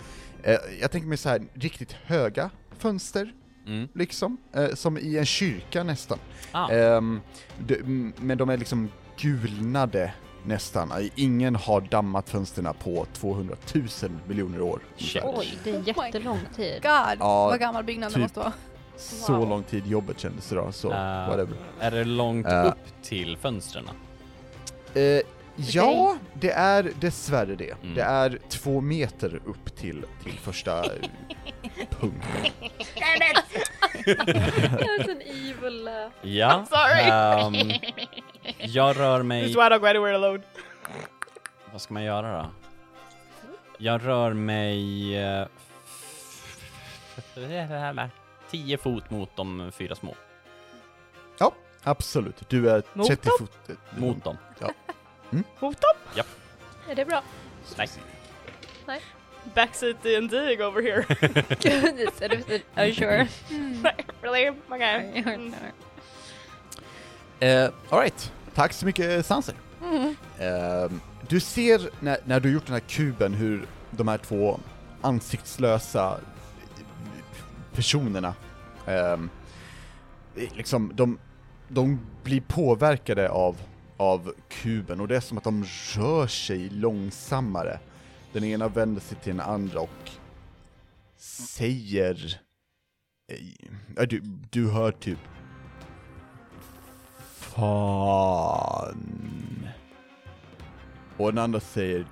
[SPEAKER 2] eh, jag tänker mig så här riktigt höga fönster,
[SPEAKER 1] Mm.
[SPEAKER 2] liksom, eh, som i en kyrka nästan.
[SPEAKER 1] Ah.
[SPEAKER 2] Ehm, de, m- men de är liksom gulnade nästan, Eh, ingen har dammat fönsterna på 200 000 miljoner år.
[SPEAKER 1] Shit.
[SPEAKER 2] ungefär.
[SPEAKER 5] Oj, det är en
[SPEAKER 3] Oh my
[SPEAKER 5] jättelång tid.
[SPEAKER 3] God,
[SPEAKER 2] Ja,
[SPEAKER 3] vad gammal byggnaden
[SPEAKER 2] typ.
[SPEAKER 3] måste vara.
[SPEAKER 2] Så
[SPEAKER 5] Wow.
[SPEAKER 2] lång tid jobbet kändes idag, så
[SPEAKER 1] Eh,
[SPEAKER 2] whatever.
[SPEAKER 1] Är det långt
[SPEAKER 2] Eh.
[SPEAKER 1] upp till fönstren?
[SPEAKER 2] Eh, ja, det är dessvärre det.
[SPEAKER 1] Mm.
[SPEAKER 2] Det är två meter upp till, till första eh, punkten.
[SPEAKER 3] <laughs>
[SPEAKER 5] That's an evil...
[SPEAKER 3] eh,
[SPEAKER 5] uh,
[SPEAKER 1] Ja.
[SPEAKER 5] sorry.
[SPEAKER 1] ehm,
[SPEAKER 2] <laughs>
[SPEAKER 1] jag rör mig...
[SPEAKER 4] This why I don't go anywhere alone.
[SPEAKER 1] Vad ska man göra då? Jag rör mig... eh, 10 fot mot de fyra små.
[SPEAKER 2] Ja, absolut. Du är
[SPEAKER 4] Mot
[SPEAKER 2] 30 fot... eh,
[SPEAKER 1] Mot dem.
[SPEAKER 4] Mot dem?
[SPEAKER 5] Är det
[SPEAKER 1] <laughs>
[SPEAKER 5] bra? <laughs>
[SPEAKER 1] Nej.
[SPEAKER 4] Backseat D&D over
[SPEAKER 1] <laughs>
[SPEAKER 4] here.
[SPEAKER 5] Är det- Are you sure? <laughs>
[SPEAKER 4] really? Okay.
[SPEAKER 5] Mm.
[SPEAKER 2] Eh, Alright, tack så mycket Sanser. Ehm, du ser när, när du gjort den här kuben hur de här två ansiktslösa personerna, ehm, liksom de, de blir påverkade av, av kuben och det är som att de rör sig långsammare. Den ena vänder sig till den andra och säger... eh, ja, Du, du hör typ Fan. Och den andra säger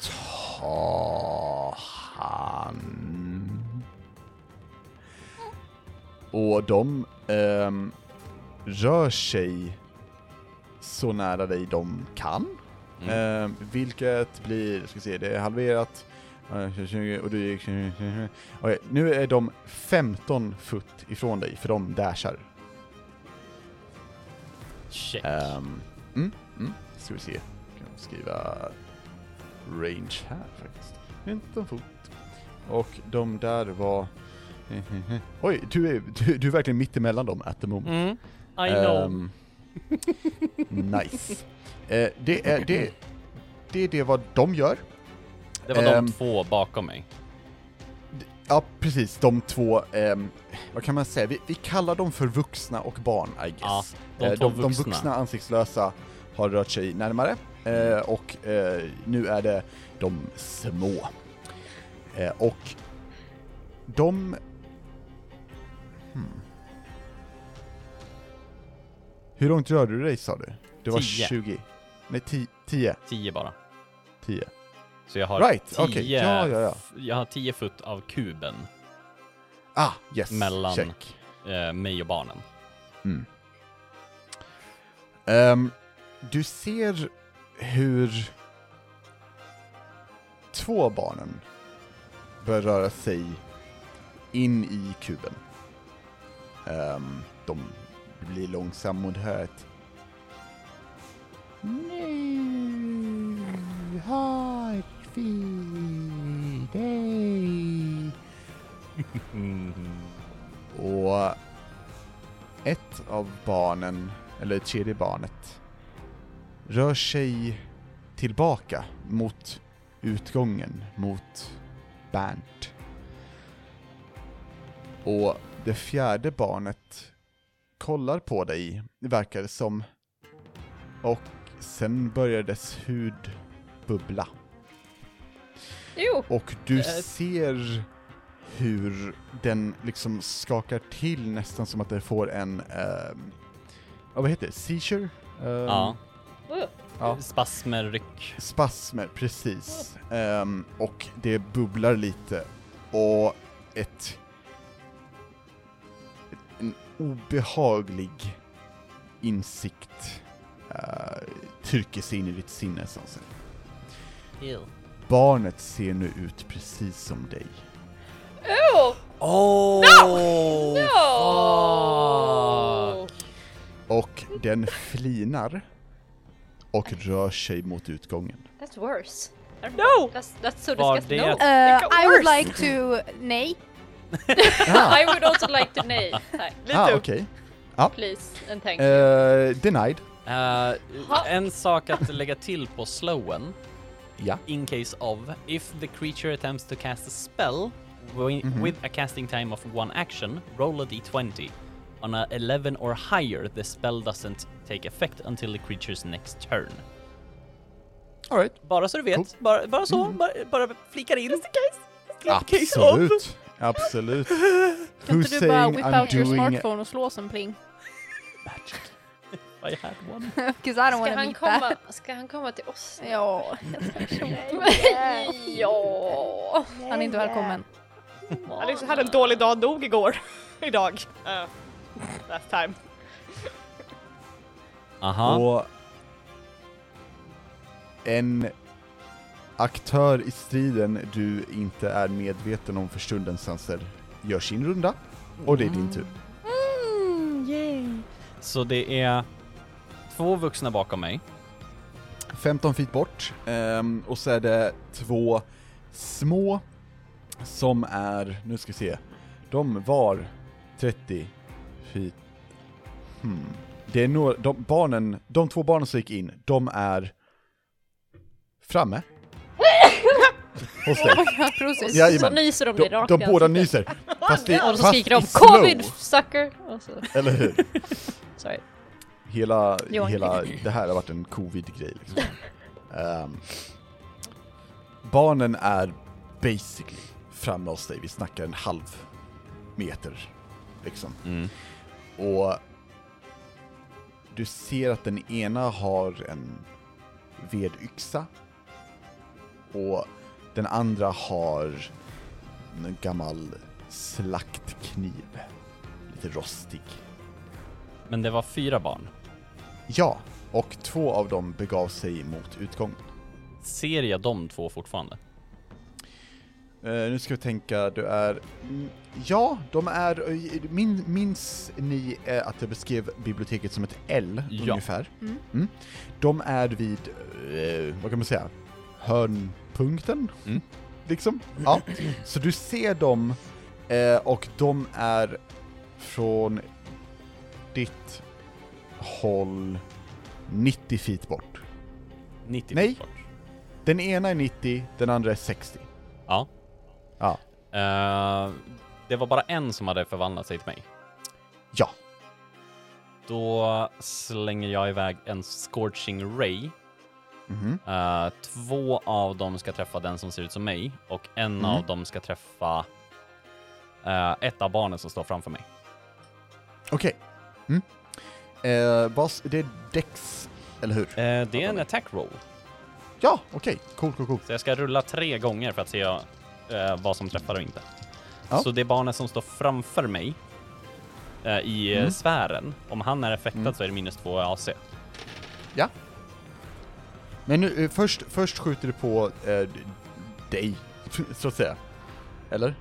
[SPEAKER 2] Ta han. Och de ehm, rör sig så nära dig de kan.
[SPEAKER 1] Mm.
[SPEAKER 2] Ehm, vilket blir, ska se, det är halverat. Eh, 20, Och du gick... Okej, nu är de 15 foot ifrån dig, för de dashar.
[SPEAKER 1] Check.
[SPEAKER 2] Ehm, mm, mm, ska vi se. Kan vi skriva range här faktiskt. 15 fot. Och de där var <laughs> Oj, du är, du, du är verkligen mittemellan dem at the moment.
[SPEAKER 1] Mm. I know.
[SPEAKER 2] Ehm, nice. Eh, det, är, det, det är det vad de gör.
[SPEAKER 1] det var
[SPEAKER 2] ehm.
[SPEAKER 1] de två bakom mig.
[SPEAKER 2] Ja, precis, de två, ehm, vad kan man säga, vi, vi kallar dem för vuxna och barn, I guess.
[SPEAKER 1] Ja, de
[SPEAKER 2] Eh,
[SPEAKER 1] två
[SPEAKER 2] de,
[SPEAKER 1] vuxna.
[SPEAKER 2] vuxna ansiktslösa har rört sig närmare eh,
[SPEAKER 1] Mm.
[SPEAKER 2] och eh, nu är det de små. Eh, och de... Hmm. Hur långt rörde du dig sa du? Det var
[SPEAKER 1] Tio.
[SPEAKER 2] 20? Nej, 10? 10?
[SPEAKER 1] Tio bara.
[SPEAKER 2] 10?
[SPEAKER 1] Så jag har
[SPEAKER 2] Right,
[SPEAKER 1] tio,
[SPEAKER 2] okej. Ja, ja, ja.
[SPEAKER 1] f- jag har tio foot av kuben,
[SPEAKER 2] Ah, yes!
[SPEAKER 1] Mellan.
[SPEAKER 2] Check.
[SPEAKER 1] eh, mig och barnen.
[SPEAKER 2] Mm. Ehm, du ser hur två barnen börjar röra sig in i kuben. Ehm, de blir långsamma och du hör ett Nu har vi dig. Mhm. Och ett av barnen, eller det tredje barnet, rör sig tillbaka mot utgången, mot Bernt. Och det fjärde barnet kollar på dig, verkar det som. Och sen börjar dess hud bubbla.
[SPEAKER 4] Jo!
[SPEAKER 2] Och du
[SPEAKER 1] Eh.
[SPEAKER 2] ser hur den liksom skakar till nästan som att den får en, ehm, ja vad heter det, seizure? Ehm,
[SPEAKER 1] Ja.
[SPEAKER 5] Uh,
[SPEAKER 2] ja.
[SPEAKER 1] Spasmer, ryck.
[SPEAKER 2] Spasmer, precis. Ehm, och det bubblar lite och ett... En obehaglig insikt eh, trycker sig in i ditt sinne, så att säga. Barnet ser nu ut precis som dig.
[SPEAKER 5] oh,
[SPEAKER 1] Oh! No! Ah.
[SPEAKER 5] oh.
[SPEAKER 2] Och den flinar och rör sig mot utgången.
[SPEAKER 5] That's worse. Uh, I don't
[SPEAKER 4] No!
[SPEAKER 5] know. That's, that's so
[SPEAKER 1] Var
[SPEAKER 5] disgusting.
[SPEAKER 1] det-
[SPEAKER 5] No.
[SPEAKER 3] Eh,
[SPEAKER 4] got
[SPEAKER 3] I would
[SPEAKER 4] worse.
[SPEAKER 3] like to... Nej.
[SPEAKER 5] I would also like to nay. Tack.
[SPEAKER 4] Lite
[SPEAKER 2] ah,
[SPEAKER 4] upp.
[SPEAKER 2] okej.
[SPEAKER 5] Please and thank you.
[SPEAKER 2] Eh, denied.
[SPEAKER 1] Eh,
[SPEAKER 5] Ha.
[SPEAKER 1] en sak att lägga till på slowen,
[SPEAKER 2] Ja.
[SPEAKER 1] in case of, if the creature attempts to cast a spell wi-
[SPEAKER 2] Mhm.
[SPEAKER 1] with a casting time of one action, roll a d20. On a 11 or higher, the spell doesn't take effect until the creature's next turn.
[SPEAKER 2] Alright.
[SPEAKER 1] Bara så du vet, bara, bara så, bara, bara flikar in. Just in case. case of.
[SPEAKER 2] Mm. Absolut. Absolut.
[SPEAKER 3] <laughs> Kan
[SPEAKER 2] Who's
[SPEAKER 3] inte du bara
[SPEAKER 2] saying
[SPEAKER 3] whip
[SPEAKER 2] I'm
[SPEAKER 3] out your
[SPEAKER 2] doing-
[SPEAKER 3] smartphone och slå som pling? <laughs>
[SPEAKER 1] I had one.
[SPEAKER 3] Because I don't
[SPEAKER 5] Ska
[SPEAKER 3] wanna
[SPEAKER 5] han,
[SPEAKER 3] meet that. <laughs>
[SPEAKER 5] komma, ska han komma till oss?
[SPEAKER 3] Ja.
[SPEAKER 5] <laughs> ja.
[SPEAKER 3] Han är inte välkommen.
[SPEAKER 4] Alex hade en dålig dag, dog igår. <laughs> Idag. Uh, last time.
[SPEAKER 1] Aha.
[SPEAKER 2] Och en aktör i striden du inte är medveten om för stunden, Sanser, gör sin runda. Och det är
[SPEAKER 3] Mm.
[SPEAKER 2] din tur.
[SPEAKER 1] Så det är två vuxna bakom mig.
[SPEAKER 2] 15 feet bort. ehm, och så är det två små som är, nu ska vi se, de var 30 feet. Hmm. Det är några, de, barnen, de två barnen som gick in, de är framme.
[SPEAKER 5] <laughs>
[SPEAKER 2] Hos dig.
[SPEAKER 3] Prosit.
[SPEAKER 2] Jajamän.
[SPEAKER 5] Så nyser de
[SPEAKER 2] De,
[SPEAKER 5] dig rakt
[SPEAKER 2] de
[SPEAKER 5] i alltså.
[SPEAKER 2] båda
[SPEAKER 5] ansiktet.
[SPEAKER 2] nyser. Fast, i,
[SPEAKER 5] Och så
[SPEAKER 2] fast
[SPEAKER 5] skriker de
[SPEAKER 2] i slow,
[SPEAKER 5] covid sucker! Och så,
[SPEAKER 2] Eller hur?
[SPEAKER 5] sorry.
[SPEAKER 2] Hela,
[SPEAKER 5] Johan.
[SPEAKER 2] hela det här har varit en covid-grej liksom. Ehm, barnen är basically framme hos dig, vi snackar en halv meter liksom. Och du ser att den ena har en vedyxa och den andra har en gammal slaktkniv. Lite rostig.
[SPEAKER 1] Men det var fyra barn.
[SPEAKER 2] Ja, och två av dem begav sig mot utgången.
[SPEAKER 1] Ser jag de två fortfarande?
[SPEAKER 2] Eh, nu ska vi tänka, du är... mm, Ja, de är... eh, Min, minns ni eh, att jag beskrev biblioteket som ett L
[SPEAKER 1] Ja.
[SPEAKER 2] ungefär? Mm. De är vid, eh, vad kan man säga, hörnpunkten? Liksom? Ja. Så du ser dem Eh, och de är från ditt håll 90 feet bort.
[SPEAKER 1] 90
[SPEAKER 2] Nej.
[SPEAKER 1] feet bort.
[SPEAKER 2] Den ena är 90, den andra är 60.
[SPEAKER 1] Ja.
[SPEAKER 2] Ja.
[SPEAKER 1] Eh, det var bara en som hade förvandlat sig till mig.
[SPEAKER 2] Ja.
[SPEAKER 1] Då slänger jag iväg en Scorching Ray.
[SPEAKER 2] Mhm.
[SPEAKER 1] Eh, två av dem ska träffa den som ser ut som mig och en
[SPEAKER 2] Mm.
[SPEAKER 1] av dem ska träffa eh, ett av barnen som står framför mig.
[SPEAKER 2] Okej. Mm. Eh, Bas, det är Dex, eller hur?
[SPEAKER 1] Eh, det är en attack roll,
[SPEAKER 2] Ja, okej. Cool, cool, cool.
[SPEAKER 1] så jag ska rulla tre gånger för att se eh, vad som träffar och inte.
[SPEAKER 2] Ja.
[SPEAKER 1] Så det barnet som står framför mig eh, i eh,
[SPEAKER 2] Mm.
[SPEAKER 1] sfären, om han är effektad så är det minus två i AC.
[SPEAKER 2] Ja. Men nu, eh, först, först skjuter du på eh, d- dig, <laughs> så att säga. Eller?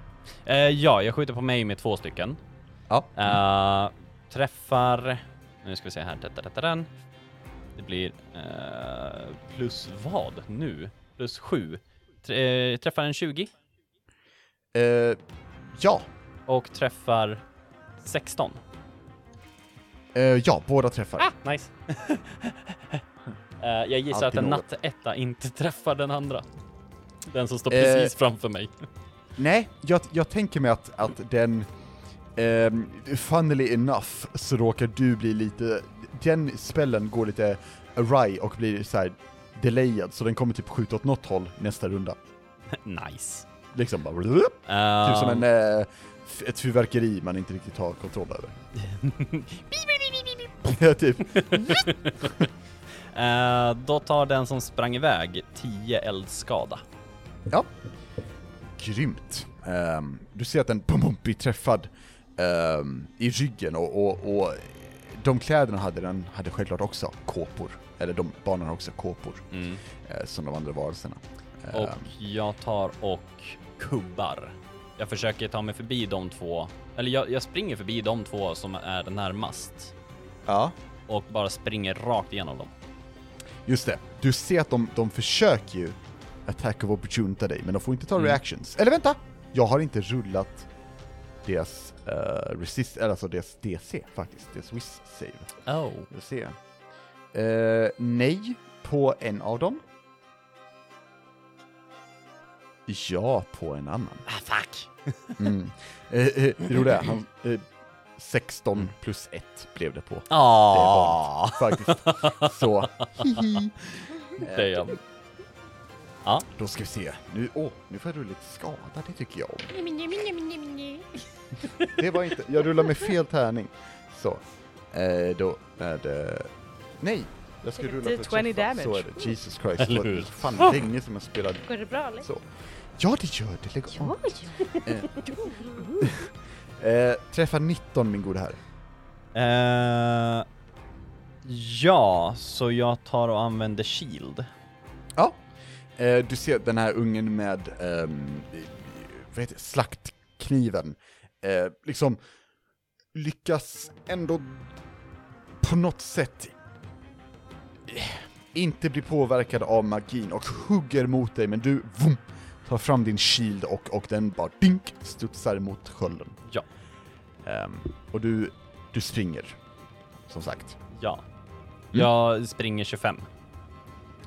[SPEAKER 1] Eh, ja, jag skjuter på mig med två stycken.
[SPEAKER 2] Ja.
[SPEAKER 1] Eh, träffar... Nu ska vi se här. Detta, detta, den. Det blir eh, plus vad nu? Plus sju. Tr- eh, träffar en 20
[SPEAKER 2] Eh, ja.
[SPEAKER 1] och träffar 16.
[SPEAKER 2] Eh, ja, båda träffar.
[SPEAKER 1] Nice. Eh, jag gissar
[SPEAKER 2] Alltid
[SPEAKER 1] att en
[SPEAKER 2] något.
[SPEAKER 1] nattetta inte träffar den andra. Den som står
[SPEAKER 2] Eh.
[SPEAKER 1] precis framför
[SPEAKER 2] <laughs>
[SPEAKER 1] mig.
[SPEAKER 2] Nej, jag, jag tänker mig att, att den... Um, funnily enough så råkar du bli lite... Den spellen går lite awry och blir så här delayad, så den kommer typ skjuta åt något håll nästa runda.
[SPEAKER 1] nice.
[SPEAKER 2] Liksom bara... Typ
[SPEAKER 1] Uh,
[SPEAKER 2] som en, eh, f- ett fyrverkeri man inte riktigt har kontroll över. <laughs> Ja, typ.
[SPEAKER 1] <laughs> Eh, då tar den som sprang iväg 10 eldskada.
[SPEAKER 2] Ja. Grymt. Ehm, du ser att den pum, pum, blir träffad ehm, i ryggen och, och, och de kläderna hade den hade självklart också kåpor. Eller de barnen har också kåpor, eh, som de andra varelserna. Ehm,
[SPEAKER 1] Mm. Och jag tar och kubbar. Jag försöker ta mig förbi de två, eller jag, jag springer förbi de två som är närmast
[SPEAKER 2] Ja,
[SPEAKER 1] och bara springer rakt igenom dem.
[SPEAKER 2] just det. Du ser att de, de försöker ju attack of opportunity dig, men de får inte ta
[SPEAKER 1] Mm.
[SPEAKER 2] reactions. Eller vänta! Jag har inte rullat deras eh, resist, eller alltså deras DC faktiskt, deras wiss save.
[SPEAKER 1] Oh.
[SPEAKER 2] Vi får se. Eh, nej på en av dem. Ja på en annan.
[SPEAKER 1] Ah, fuck!
[SPEAKER 2] Mm. <laughs> Eh, eh, det roliga är, han, eh, 16 plus 1 blev det på. Det
[SPEAKER 1] Ah,
[SPEAKER 2] barnet, faktiskt. Så, hihi. Eh,
[SPEAKER 1] det är jag. Ja,
[SPEAKER 2] Då ska vi se. Nu, åh, nu får jag rulla lite skada, det tycker jag om. Det var inte, jag rullar med fel tärning. Så, eh, då är det... Nej! Jag ska
[SPEAKER 4] Take
[SPEAKER 2] rulla för
[SPEAKER 4] 20
[SPEAKER 2] träffa.
[SPEAKER 4] damage.
[SPEAKER 2] Så är det, Jesus Christ.
[SPEAKER 1] Eller
[SPEAKER 2] Eller
[SPEAKER 1] hur?
[SPEAKER 2] hur? Fan vad länge som jag spelade
[SPEAKER 5] Går det bra eller?
[SPEAKER 2] så. Ja det gör det, lägg av. Eh, <laughs> träffa 19 min gode herre.
[SPEAKER 1] Eh, ja, så jag tar och använder shield.
[SPEAKER 2] Ja. Eh, du ser den här ungen med ehm, eh, vad heter, det? slaktkniven. Eh, liksom lyckas ändå på något sätt eh, inte bli påverkad av magin och hugger mot dig men du vum, tar fram din shield och, och den bara dink studsar mot skölden.
[SPEAKER 1] Ja,
[SPEAKER 2] Ehm, och du, du springer. Som sagt.
[SPEAKER 1] ja.
[SPEAKER 6] Mm.
[SPEAKER 1] Jag springer 25.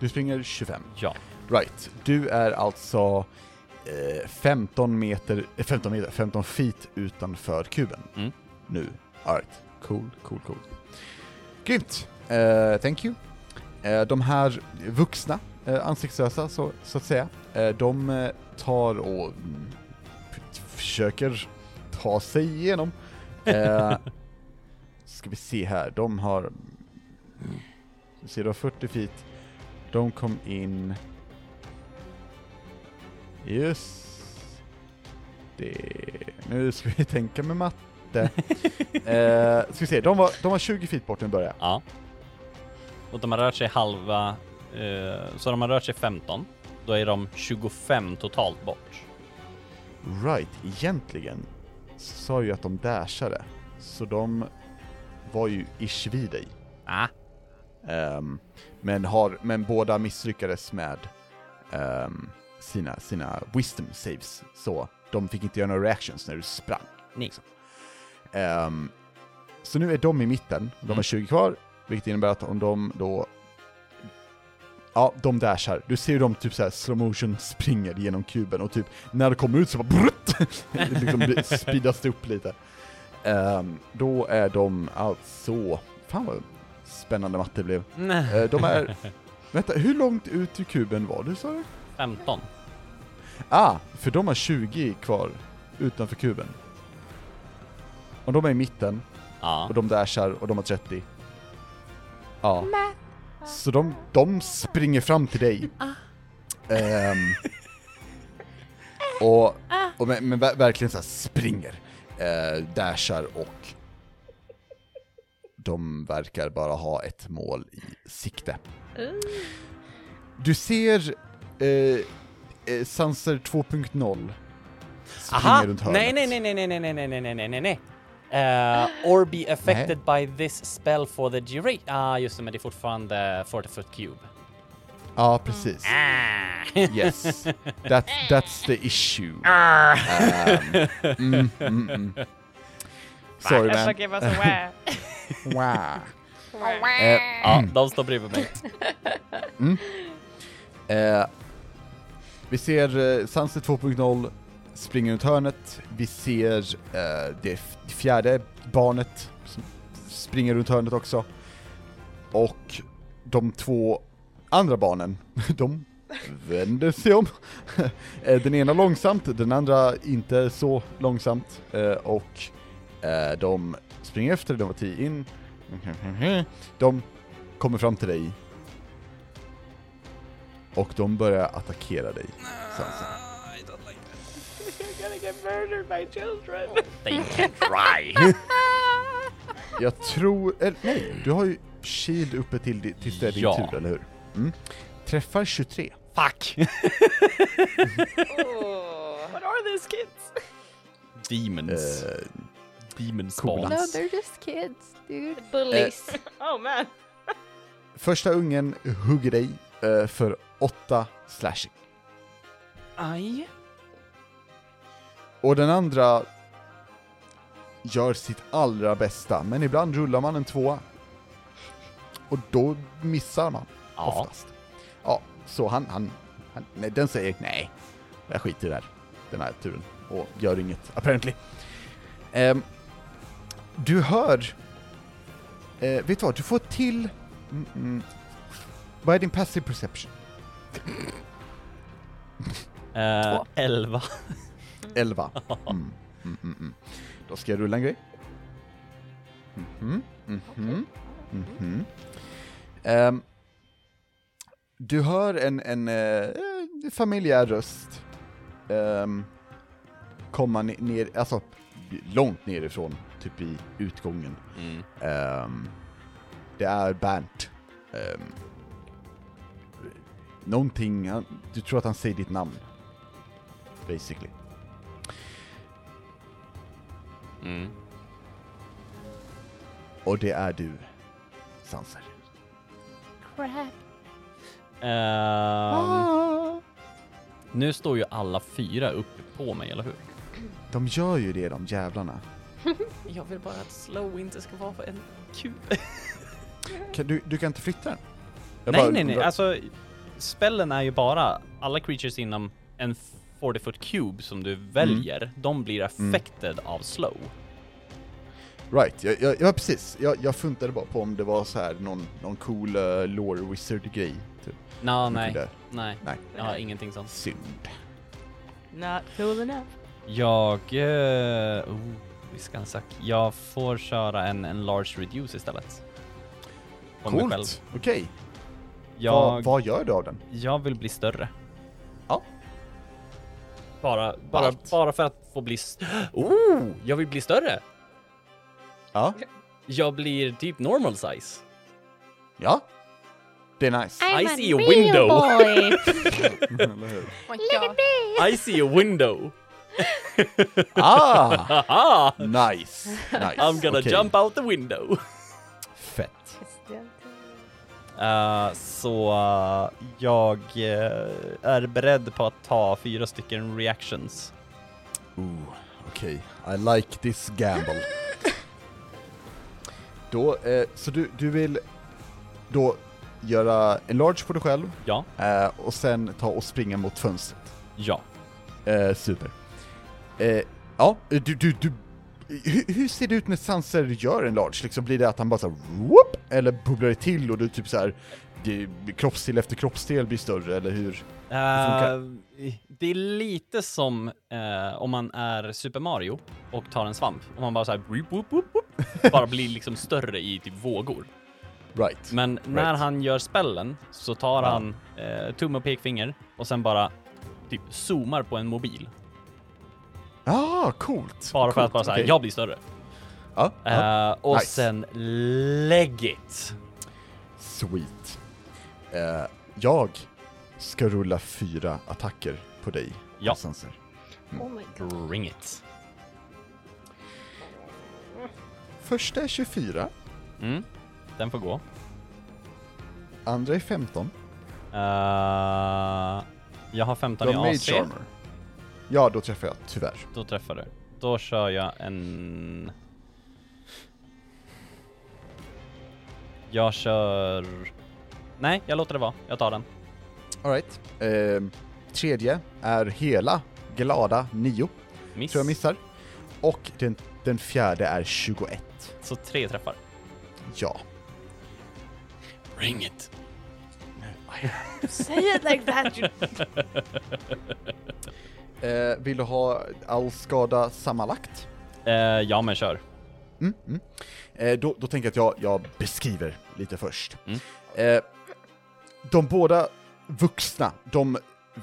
[SPEAKER 2] Du springer 25.
[SPEAKER 1] Ja.
[SPEAKER 2] Right, du är alltså eh, 15 meter, eh, 15 meter, 15 feet utanför kuben.
[SPEAKER 1] Mm.
[SPEAKER 2] Nu. Alright, cool, cool, cool. Grymt! Eh, thank you. Eh, de här vuxna, eh, ansiktslösa så, så att säga, eh, de eh, tar och mm, f- försöker ta sig igenom. Eh, ska vi se här, de har... Vi ser, de har 40 feet. De kom in... Just det. Nu ska vi tänka med matte. eh, ska vi se, de var, de var 20 feet bort när vi började.
[SPEAKER 1] Ja. Och de har rört sig halva, eh, så de har rört sig 15. Då är de 25 totalt bort.
[SPEAKER 2] Right, egentligen så sa jag ju att de dashade, så de var ju ish vid dig.
[SPEAKER 1] Ah.
[SPEAKER 2] Ehm, men, har, men båda misslyckades med ehm, sina, sina wisdom saves, så de fick inte göra några reactions när du sprang.
[SPEAKER 1] Nej.
[SPEAKER 2] Ehm, så nu är de i mitten, de har
[SPEAKER 1] Mm.
[SPEAKER 2] 20 kvar, vilket innebär att om de då... Ja, de dashar. Du ser hur de typ såhär slow motion springer genom kuben och typ när de kommer ut så bara brutt, <laughs> liksom blir- speedas det upp lite. Ehm, då är de alltså... Fan vad spännande matte blev. Eh, de är... Vänta, hur långt ut i kuben var du sa du?
[SPEAKER 1] 15.
[SPEAKER 2] Ah, för de har 20 kvar utanför kuben. Och de är i mitten,
[SPEAKER 1] Ja.
[SPEAKER 2] och de dashar, och de har 30. Ja. Så de, de springer fram till dig. Ehm. och, och men, men ver- verkligen så här springer, eh, dashar och de verkar bara ha ett mål i sikte. Du ser eh, eh, Sanser 2.0 springer runt hörnet.
[SPEAKER 6] Nej, nej, nej, nej, nej, nej, nej, nej, nej, nej, nej, nej, nej. Eh, or be affected by this spell for the duration. Ah, just det, men det är fortfarande 40 foot cube.
[SPEAKER 2] Ja, precis.
[SPEAKER 6] Ah.
[SPEAKER 2] Yes, That, that's the issue.
[SPEAKER 6] Ah.
[SPEAKER 2] Um, mm, mm, mm. Sorry
[SPEAKER 4] That's
[SPEAKER 2] man.
[SPEAKER 4] what give us away.
[SPEAKER 2] Wow.
[SPEAKER 4] Away.
[SPEAKER 2] Eh,
[SPEAKER 1] Ja, de står bredvid mig.
[SPEAKER 2] Eh, vi ser eh, Sunset 2.0 springa runt hörnet, vi ser eh, det f- fjärde barnet som springer runt hörnet också. Och de två andra barnen, <laughs> de vänder sig om. <laughs> Eh, den ena långsamt, den andra inte så långsamt. Eh, och eh, de springer efter, de var tio in. <laughs> De kommer fram till dig och de börjar attackera dig. Sansa.
[SPEAKER 1] They can
[SPEAKER 2] <laughs>
[SPEAKER 1] try.
[SPEAKER 2] Jag tror, eller nej, du har ju shield uppe till, di- tills det är din
[SPEAKER 1] Ja.
[SPEAKER 2] tur, eller hur? Mm. Träffar 23.
[SPEAKER 1] Fuck!
[SPEAKER 5] Oh.
[SPEAKER 4] What are these kids?
[SPEAKER 1] Demons.
[SPEAKER 2] Eh,
[SPEAKER 1] Demon
[SPEAKER 2] coola.
[SPEAKER 3] No,
[SPEAKER 1] spawns.
[SPEAKER 3] they're just kids, dude.
[SPEAKER 5] Bullies.
[SPEAKER 2] Eh,
[SPEAKER 4] Oh man.
[SPEAKER 2] första ungen hugger dig eh, för 8 slashing.
[SPEAKER 1] Aj.
[SPEAKER 2] Och den andra gör sitt allra bästa, men ibland rullar man en tvåa. Och då missar man
[SPEAKER 1] Ja.
[SPEAKER 2] oftast. Ja, så han, han, han nej, den säger nej, jag skiter i det här, den här turen, och gör inget, apparently. Ehm, du hör, eh, vet du vad, du får till, mm, mm, vad är din passive perception?
[SPEAKER 1] Eh, 11.
[SPEAKER 2] 11. Mm. Mm, mm, mm. Då ska jag rulla en grej. Mhm, mhm, mhm. Ehm, du hör en, en eh, familjär röst ehm, komma ne- ner, alltså långt nerifrån, typ i utgången.
[SPEAKER 1] Mm.
[SPEAKER 2] Ehm, det är Bernt. Um, någonting, han, du tror att han säger ditt namn. Basically.
[SPEAKER 1] Mm.
[SPEAKER 2] Och det är du, Sanser.
[SPEAKER 3] Ah.
[SPEAKER 1] Ehm,
[SPEAKER 5] Oh
[SPEAKER 1] nu står ju alla fyra upp på mig, eller hur?
[SPEAKER 2] De gör ju det de jävlarna.
[SPEAKER 6] Jag vill bara att slow inte ska vara en kub.
[SPEAKER 2] Kan, du, du kan inte flytta den? Jag
[SPEAKER 1] nej,
[SPEAKER 2] bara
[SPEAKER 1] nej, nej,
[SPEAKER 2] undrar.
[SPEAKER 1] alltså spellen är ju bara alla creatures inom en 40 foot cube som du
[SPEAKER 2] Mm.
[SPEAKER 1] väljer, de blir affected av slow.
[SPEAKER 2] Right, jag, jag, ja precis. Jag, jag funtade bara på om det var så här någon, någon cool uh, lore wizard-grej. Typ.
[SPEAKER 1] Nå,
[SPEAKER 2] Som
[SPEAKER 1] nej,
[SPEAKER 2] kunde-
[SPEAKER 1] nej,
[SPEAKER 2] Nej.
[SPEAKER 1] jag har ingenting sånt.
[SPEAKER 2] Synd.
[SPEAKER 4] Not cool enough.
[SPEAKER 1] Jag... eh, oh, Viskansak. Jag får köra en, en large reduce istället. På mig själv.
[SPEAKER 2] Coolt, okej.
[SPEAKER 1] Jag,
[SPEAKER 2] Vad, vad gör du av den?
[SPEAKER 1] jag vill bli större.
[SPEAKER 2] Ja.
[SPEAKER 1] Bara, bara,
[SPEAKER 2] Allt.
[SPEAKER 1] bara för att få bli... St- oh! Jag vill bli större!
[SPEAKER 2] Ja,
[SPEAKER 1] Jag blir typ normal size.
[SPEAKER 2] ja. Det är nice.
[SPEAKER 1] I see a window.
[SPEAKER 5] <laughs> boy.
[SPEAKER 2] Eller hur?
[SPEAKER 3] Oh my
[SPEAKER 5] <laughs>
[SPEAKER 3] God.
[SPEAKER 1] I see a window! <laughs>
[SPEAKER 2] Ah!
[SPEAKER 1] Aha!
[SPEAKER 2] Nice, nice.
[SPEAKER 1] I'm gonna
[SPEAKER 2] Okej,
[SPEAKER 1] jump out the window!
[SPEAKER 2] Fett.
[SPEAKER 1] Eh, så eh, jag eh, är beredd på att ta fyra stycken reactions.
[SPEAKER 2] Ooh, okej. I like this gamble. då, eh, så du, du vill då göra enlarge på dig själv
[SPEAKER 1] Ja,
[SPEAKER 2] eh, och sen ta och springa mot fönstret.
[SPEAKER 1] ja.
[SPEAKER 2] Eh, super. Eh, ja, du, du, du... Hur, hur ser det ut när Sanser gör en large? Liksom blir det att han bara såhär whoop, eller bubblar det till och du typ såhär det- kroppsdel efter kroppsdel blir större, eller hur?
[SPEAKER 1] Eh, det är lite som eh, om man är Super Mario och tar en svamp. Om man bara så här, whoop, whoop, whoop, whoop, bara blir liksom större i typ vågor.
[SPEAKER 2] Right.
[SPEAKER 1] Men när
[SPEAKER 2] Right.
[SPEAKER 1] han gör spellen så tar
[SPEAKER 2] Ja.
[SPEAKER 1] han eh, tumme och pekfinger och sen bara typ zoomar på en mobil.
[SPEAKER 2] Ah, coolt!
[SPEAKER 1] Bara för
[SPEAKER 2] Coolt,
[SPEAKER 1] att bara såhär,
[SPEAKER 2] okej.
[SPEAKER 1] jag blir större.
[SPEAKER 2] Ja, ja.
[SPEAKER 1] Eh, och
[SPEAKER 2] Nice.
[SPEAKER 1] sen lägg it!
[SPEAKER 2] Sweet. Eh, jag ska rulla fyra attacker på dig,
[SPEAKER 1] Ja.
[SPEAKER 2] Sanser.
[SPEAKER 1] Bring it.
[SPEAKER 2] Första är 24,
[SPEAKER 1] Mm, den får gå.
[SPEAKER 2] andra är 15.
[SPEAKER 1] Eh, jag har 15
[SPEAKER 2] Du
[SPEAKER 1] i
[SPEAKER 2] har
[SPEAKER 1] AC.
[SPEAKER 2] Mage Armor. Ja, då träffar jag, tyvärr.
[SPEAKER 1] Då träffar du. Då kör jag en... Jag kör... Nej, jag låter det vara. Jag tar den.
[SPEAKER 2] Alright. Ehm, tredje är hela glada 9,
[SPEAKER 1] Miss.
[SPEAKER 2] tror jag missar. Och den, den fjärde är 21.
[SPEAKER 1] Så tre träffar.
[SPEAKER 2] Ja.
[SPEAKER 1] Bring it!
[SPEAKER 5] Say it like that!
[SPEAKER 2] <laughs> Eh, vill du ha all skada sammanlagt?
[SPEAKER 1] Eh, ja, men kör.
[SPEAKER 2] Mm, mm. Eh, då, då tänker jag att jag, jag beskriver lite först.
[SPEAKER 1] Mm.
[SPEAKER 2] Eh, de båda vuxna, de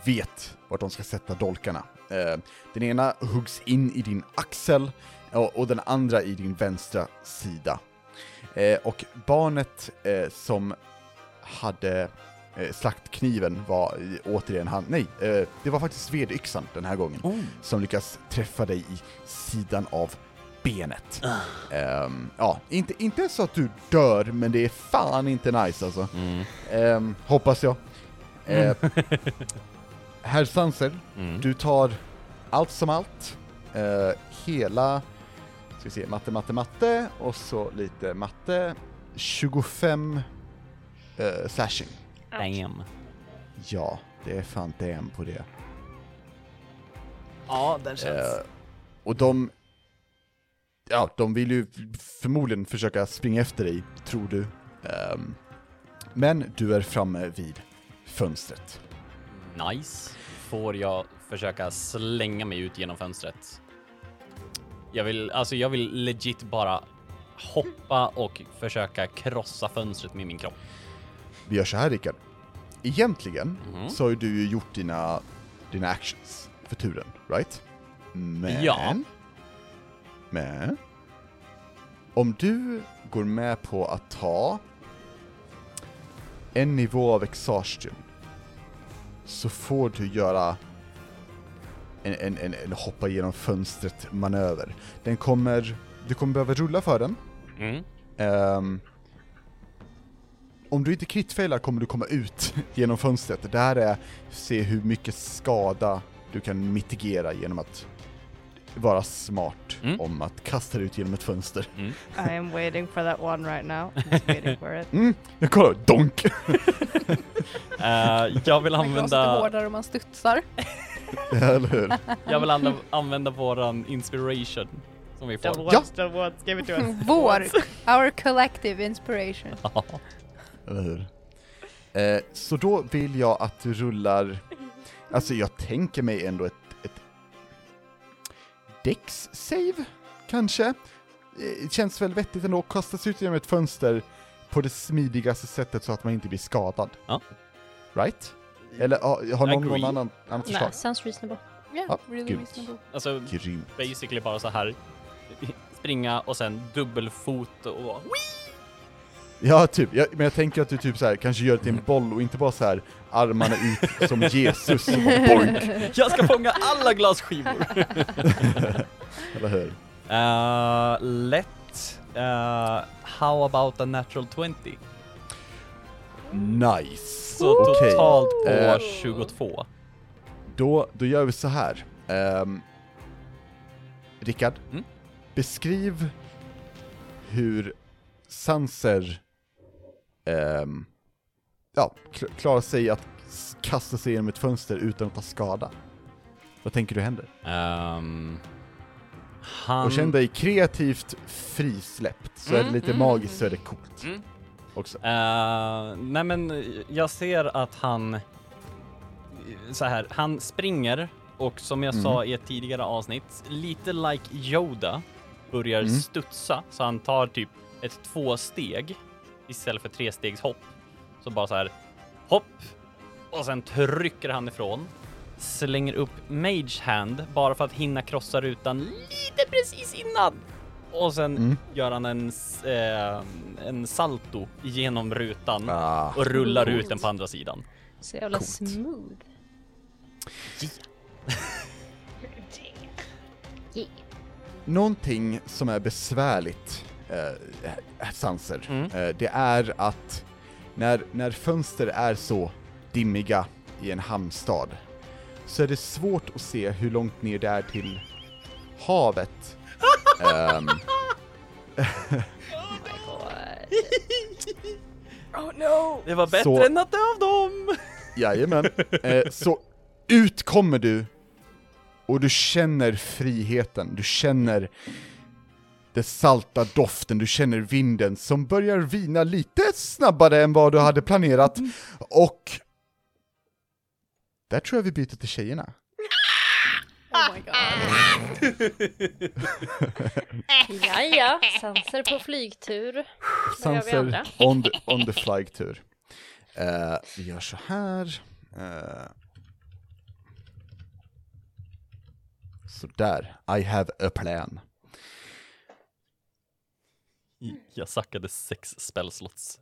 [SPEAKER 2] vet vart de ska sätta dolkarna. Eh, den ena huggs in i din axel och, och den andra i din vänstra sida. Eh, och barnet eh, som hade eh, slaktkniven var i- återigen han, nej, eh, det var faktiskt vedyxan den här gången, som lyckas träffa dig i sidan av benet. Ehm, ja, inte, inte så att du dör, men det är fan inte nice alltså. Ehm, hoppas jag. Ehm, Herr Sanser, du tar allt som allt, eh, hela, ska vi se, matte, matte, matte, och så lite matte, 25 eh, slashing.
[SPEAKER 1] Damn.
[SPEAKER 2] Ja, det är fan DM på det.
[SPEAKER 6] Ja, den känns.
[SPEAKER 2] Eh, och de... Ja, de vill ju förmodligen försöka springa efter dig, tror du. Ehm, men du är framme vid fönstret.
[SPEAKER 1] Eh, Nice. Får jag försöka slänga mig ut genom fönstret? Jag vill, alltså jag vill legit bara hoppa och försöka krossa fönstret med min kropp.
[SPEAKER 2] Vi gör så här, Rickard. Egentligen så har ju du ju gjort dina, dina actions för turen, right? Men...
[SPEAKER 1] Ja.
[SPEAKER 2] Men... Om du går med på att ta en nivå av exhaustion så får du göra en, en, en, en hoppa genom fönstret manöver. Den kommer, du kommer behöva rulla för den.
[SPEAKER 1] Mm.
[SPEAKER 2] Ehm, om du inte kritfailar kommer du komma ut <laughs> genom fönstret. Det här är se hur mycket skada du kan mitigera genom att vara smart
[SPEAKER 1] Mm.
[SPEAKER 2] om att kasta dig ut genom ett fönster.
[SPEAKER 4] I am waiting for that one right <laughs> now. I'm just waiting for it.
[SPEAKER 2] Mm, jag kollar, donk! <laughs>
[SPEAKER 1] Eh, jag vill
[SPEAKER 3] Man använda...
[SPEAKER 1] använda...
[SPEAKER 3] hårdare om man studsar.
[SPEAKER 2] Eller hur?
[SPEAKER 1] Jag vill anv- använda våran inspiration som vi får.
[SPEAKER 2] Ja. Ah.
[SPEAKER 4] ones, double ones, give it to us.
[SPEAKER 3] <laughs> Vår, our collective inspiration.
[SPEAKER 2] Eller hur? Eh, så då vill jag att du rullar... Alltså jag tänker mig ändå ett... ett Dex save kanske? Eh, känns väl vettigt ändå, kastas ut genom ett fönster på det smidigaste sättet så att man inte blir skadad.
[SPEAKER 1] Ja.
[SPEAKER 2] Right? Eller ah, har någon, någon
[SPEAKER 1] Agree.
[SPEAKER 2] annan annat förslag?
[SPEAKER 5] Nej, sounds reasonable.
[SPEAKER 3] Yeah,
[SPEAKER 2] Ja,
[SPEAKER 3] really
[SPEAKER 2] Ah, gud.
[SPEAKER 3] reasonable.
[SPEAKER 1] Alltså
[SPEAKER 2] Grymt.
[SPEAKER 1] basically bara så här springa och sen dubbelfot och bara, "Wii!"
[SPEAKER 2] Ja, typ. Jag, men jag tänker att du typ så här, kanske gör det till en boll och inte bara så här armarna ut som Jesus. och bara Boink!
[SPEAKER 1] jag ska fånga alla glasskivor.
[SPEAKER 2] Eller hur?
[SPEAKER 1] Eh, lätt. Eh, how about a natural 20?
[SPEAKER 2] Nice!
[SPEAKER 1] Så
[SPEAKER 2] Okej.
[SPEAKER 1] totalt på
[SPEAKER 2] Eh.
[SPEAKER 1] 22.
[SPEAKER 2] Då, då gör vi så här. Ehm, Rickard,
[SPEAKER 1] Mm.
[SPEAKER 2] beskriv hur Sanser ehm, ja, kl- klarar sig att s- kasta sig genom ett fönster utan att ta skada. Vad tänker du händer?
[SPEAKER 1] Ehm, han...
[SPEAKER 2] Och känn dig kreativt frisläppt, så är det lite magiskt så är det coolt.
[SPEAKER 1] Mm.
[SPEAKER 2] Också.
[SPEAKER 1] Eh, nej men jag ser att han så här, han springer och som jag sa i ett tidigare avsnitt, lite like Yoda börjar studsa så han tar typ ett två steg istället för tre stegs hopp. Så bara så här hopp och sen trycker han ifrån. Slänger upp Mage Hand bara för att hinna krossa rutan lite precis innan. Och sen gör han en, s- eh, en salto genom rutan
[SPEAKER 2] Ah.
[SPEAKER 1] och rullar ut den på andra sidan.
[SPEAKER 7] Så jävla smooth. Yeah.
[SPEAKER 2] Någonting som är besvärligt, eh, Sanser, eh, det är att när, när fönster är så dimmiga i en hamnstad så är det svårt att se hur långt ner det är till havet. Ehm,
[SPEAKER 1] Det var bättre
[SPEAKER 2] Så-
[SPEAKER 1] än att dö av dem!
[SPEAKER 2] Jajamän. Eh, så ut kommer du och du känner friheten, du känner den salta doften, du känner vinden som börjar vina lite snabbare än vad du hade planerat och där tror jag vi byter till tjejerna.
[SPEAKER 3] Oh
[SPEAKER 5] <laughs>
[SPEAKER 3] my god.
[SPEAKER 7] Ja, ja. Sanser på flygtur. gör vi
[SPEAKER 2] Sanser
[SPEAKER 7] andra?
[SPEAKER 2] on the, on the flag-tur. Eh, vi gör så här. Eh. så där. I have a plan.
[SPEAKER 1] Jag sackade sex spellslots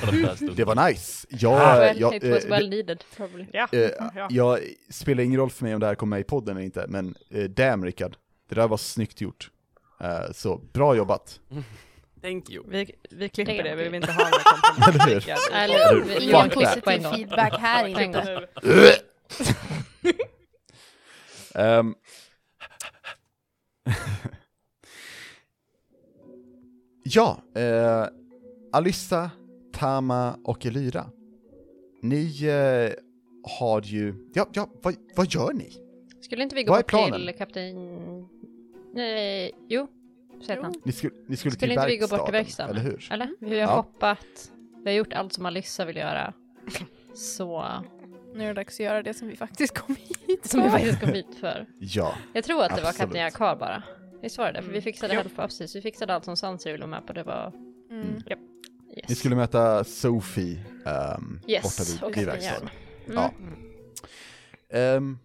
[SPEAKER 1] på
[SPEAKER 2] <laughs>
[SPEAKER 1] den där stunden.
[SPEAKER 2] Det var nice. Jag, jag,
[SPEAKER 5] It
[SPEAKER 2] eh,
[SPEAKER 5] was well
[SPEAKER 2] det-
[SPEAKER 5] needed probably.
[SPEAKER 4] Ja. Mm,
[SPEAKER 2] eh,
[SPEAKER 4] ja.
[SPEAKER 2] jag spelar ingen roll för mig om det här kommer med i podden eller inte, men eh, damn Rickard, det där var snyggt gjort. Eh, så bra
[SPEAKER 4] <laughs>
[SPEAKER 2] jobbat.
[SPEAKER 1] Thank you.
[SPEAKER 4] Vi, vi klipper
[SPEAKER 7] Lägg
[SPEAKER 4] det,
[SPEAKER 7] av.
[SPEAKER 4] vi vill inte ha
[SPEAKER 1] <laughs>
[SPEAKER 4] några kompromisser.
[SPEAKER 2] Eller
[SPEAKER 5] Eller
[SPEAKER 2] Fuck
[SPEAKER 5] ingen
[SPEAKER 2] that.
[SPEAKER 5] positiv på en
[SPEAKER 3] Positiv
[SPEAKER 5] gång.
[SPEAKER 3] feedback här
[SPEAKER 5] På en gång.
[SPEAKER 3] inte.
[SPEAKER 2] <laughs> Ehm. <laughs> ja, eh, Alissa, Tama och Elyra. Ni eh, har ju... Ja, ja vad, vad gör ni?
[SPEAKER 5] Skulle inte vi gå
[SPEAKER 2] Vad är
[SPEAKER 5] bort till
[SPEAKER 2] planen?
[SPEAKER 5] kapten... Nej, jo. Så heter han.
[SPEAKER 2] Ni skulle, ni skulle,
[SPEAKER 5] Skulle
[SPEAKER 2] till
[SPEAKER 5] inte vi gå
[SPEAKER 2] verkstaden,
[SPEAKER 5] bort till verkstaden?
[SPEAKER 2] eller hur?
[SPEAKER 5] Eller? Vi har
[SPEAKER 2] Ja.
[SPEAKER 5] hoppat. Vi har gjort allt som Alissa vill göra. Så...
[SPEAKER 3] Nu är det dags att göra det som vi faktiskt kom hit
[SPEAKER 5] Som vi
[SPEAKER 3] för.
[SPEAKER 5] faktiskt kom hit för.
[SPEAKER 2] Ja.
[SPEAKER 5] Jag tror att det var
[SPEAKER 2] Absolut.
[SPEAKER 5] kapten Jakar bara. Visst var det det? För vi
[SPEAKER 4] Mm.
[SPEAKER 5] fixade
[SPEAKER 4] Jo.
[SPEAKER 5] halv, ja, precis. Vi fixade allt som Sanser ville vara med på. Det var...
[SPEAKER 3] Mm.
[SPEAKER 5] Yes.
[SPEAKER 2] Ni skulle möta Sophie ehm,
[SPEAKER 5] Yes, Mm.
[SPEAKER 2] borta vid,
[SPEAKER 5] och
[SPEAKER 2] vid
[SPEAKER 5] Kapten
[SPEAKER 2] verkstaden.
[SPEAKER 5] Järn.
[SPEAKER 2] Ja. Ehm,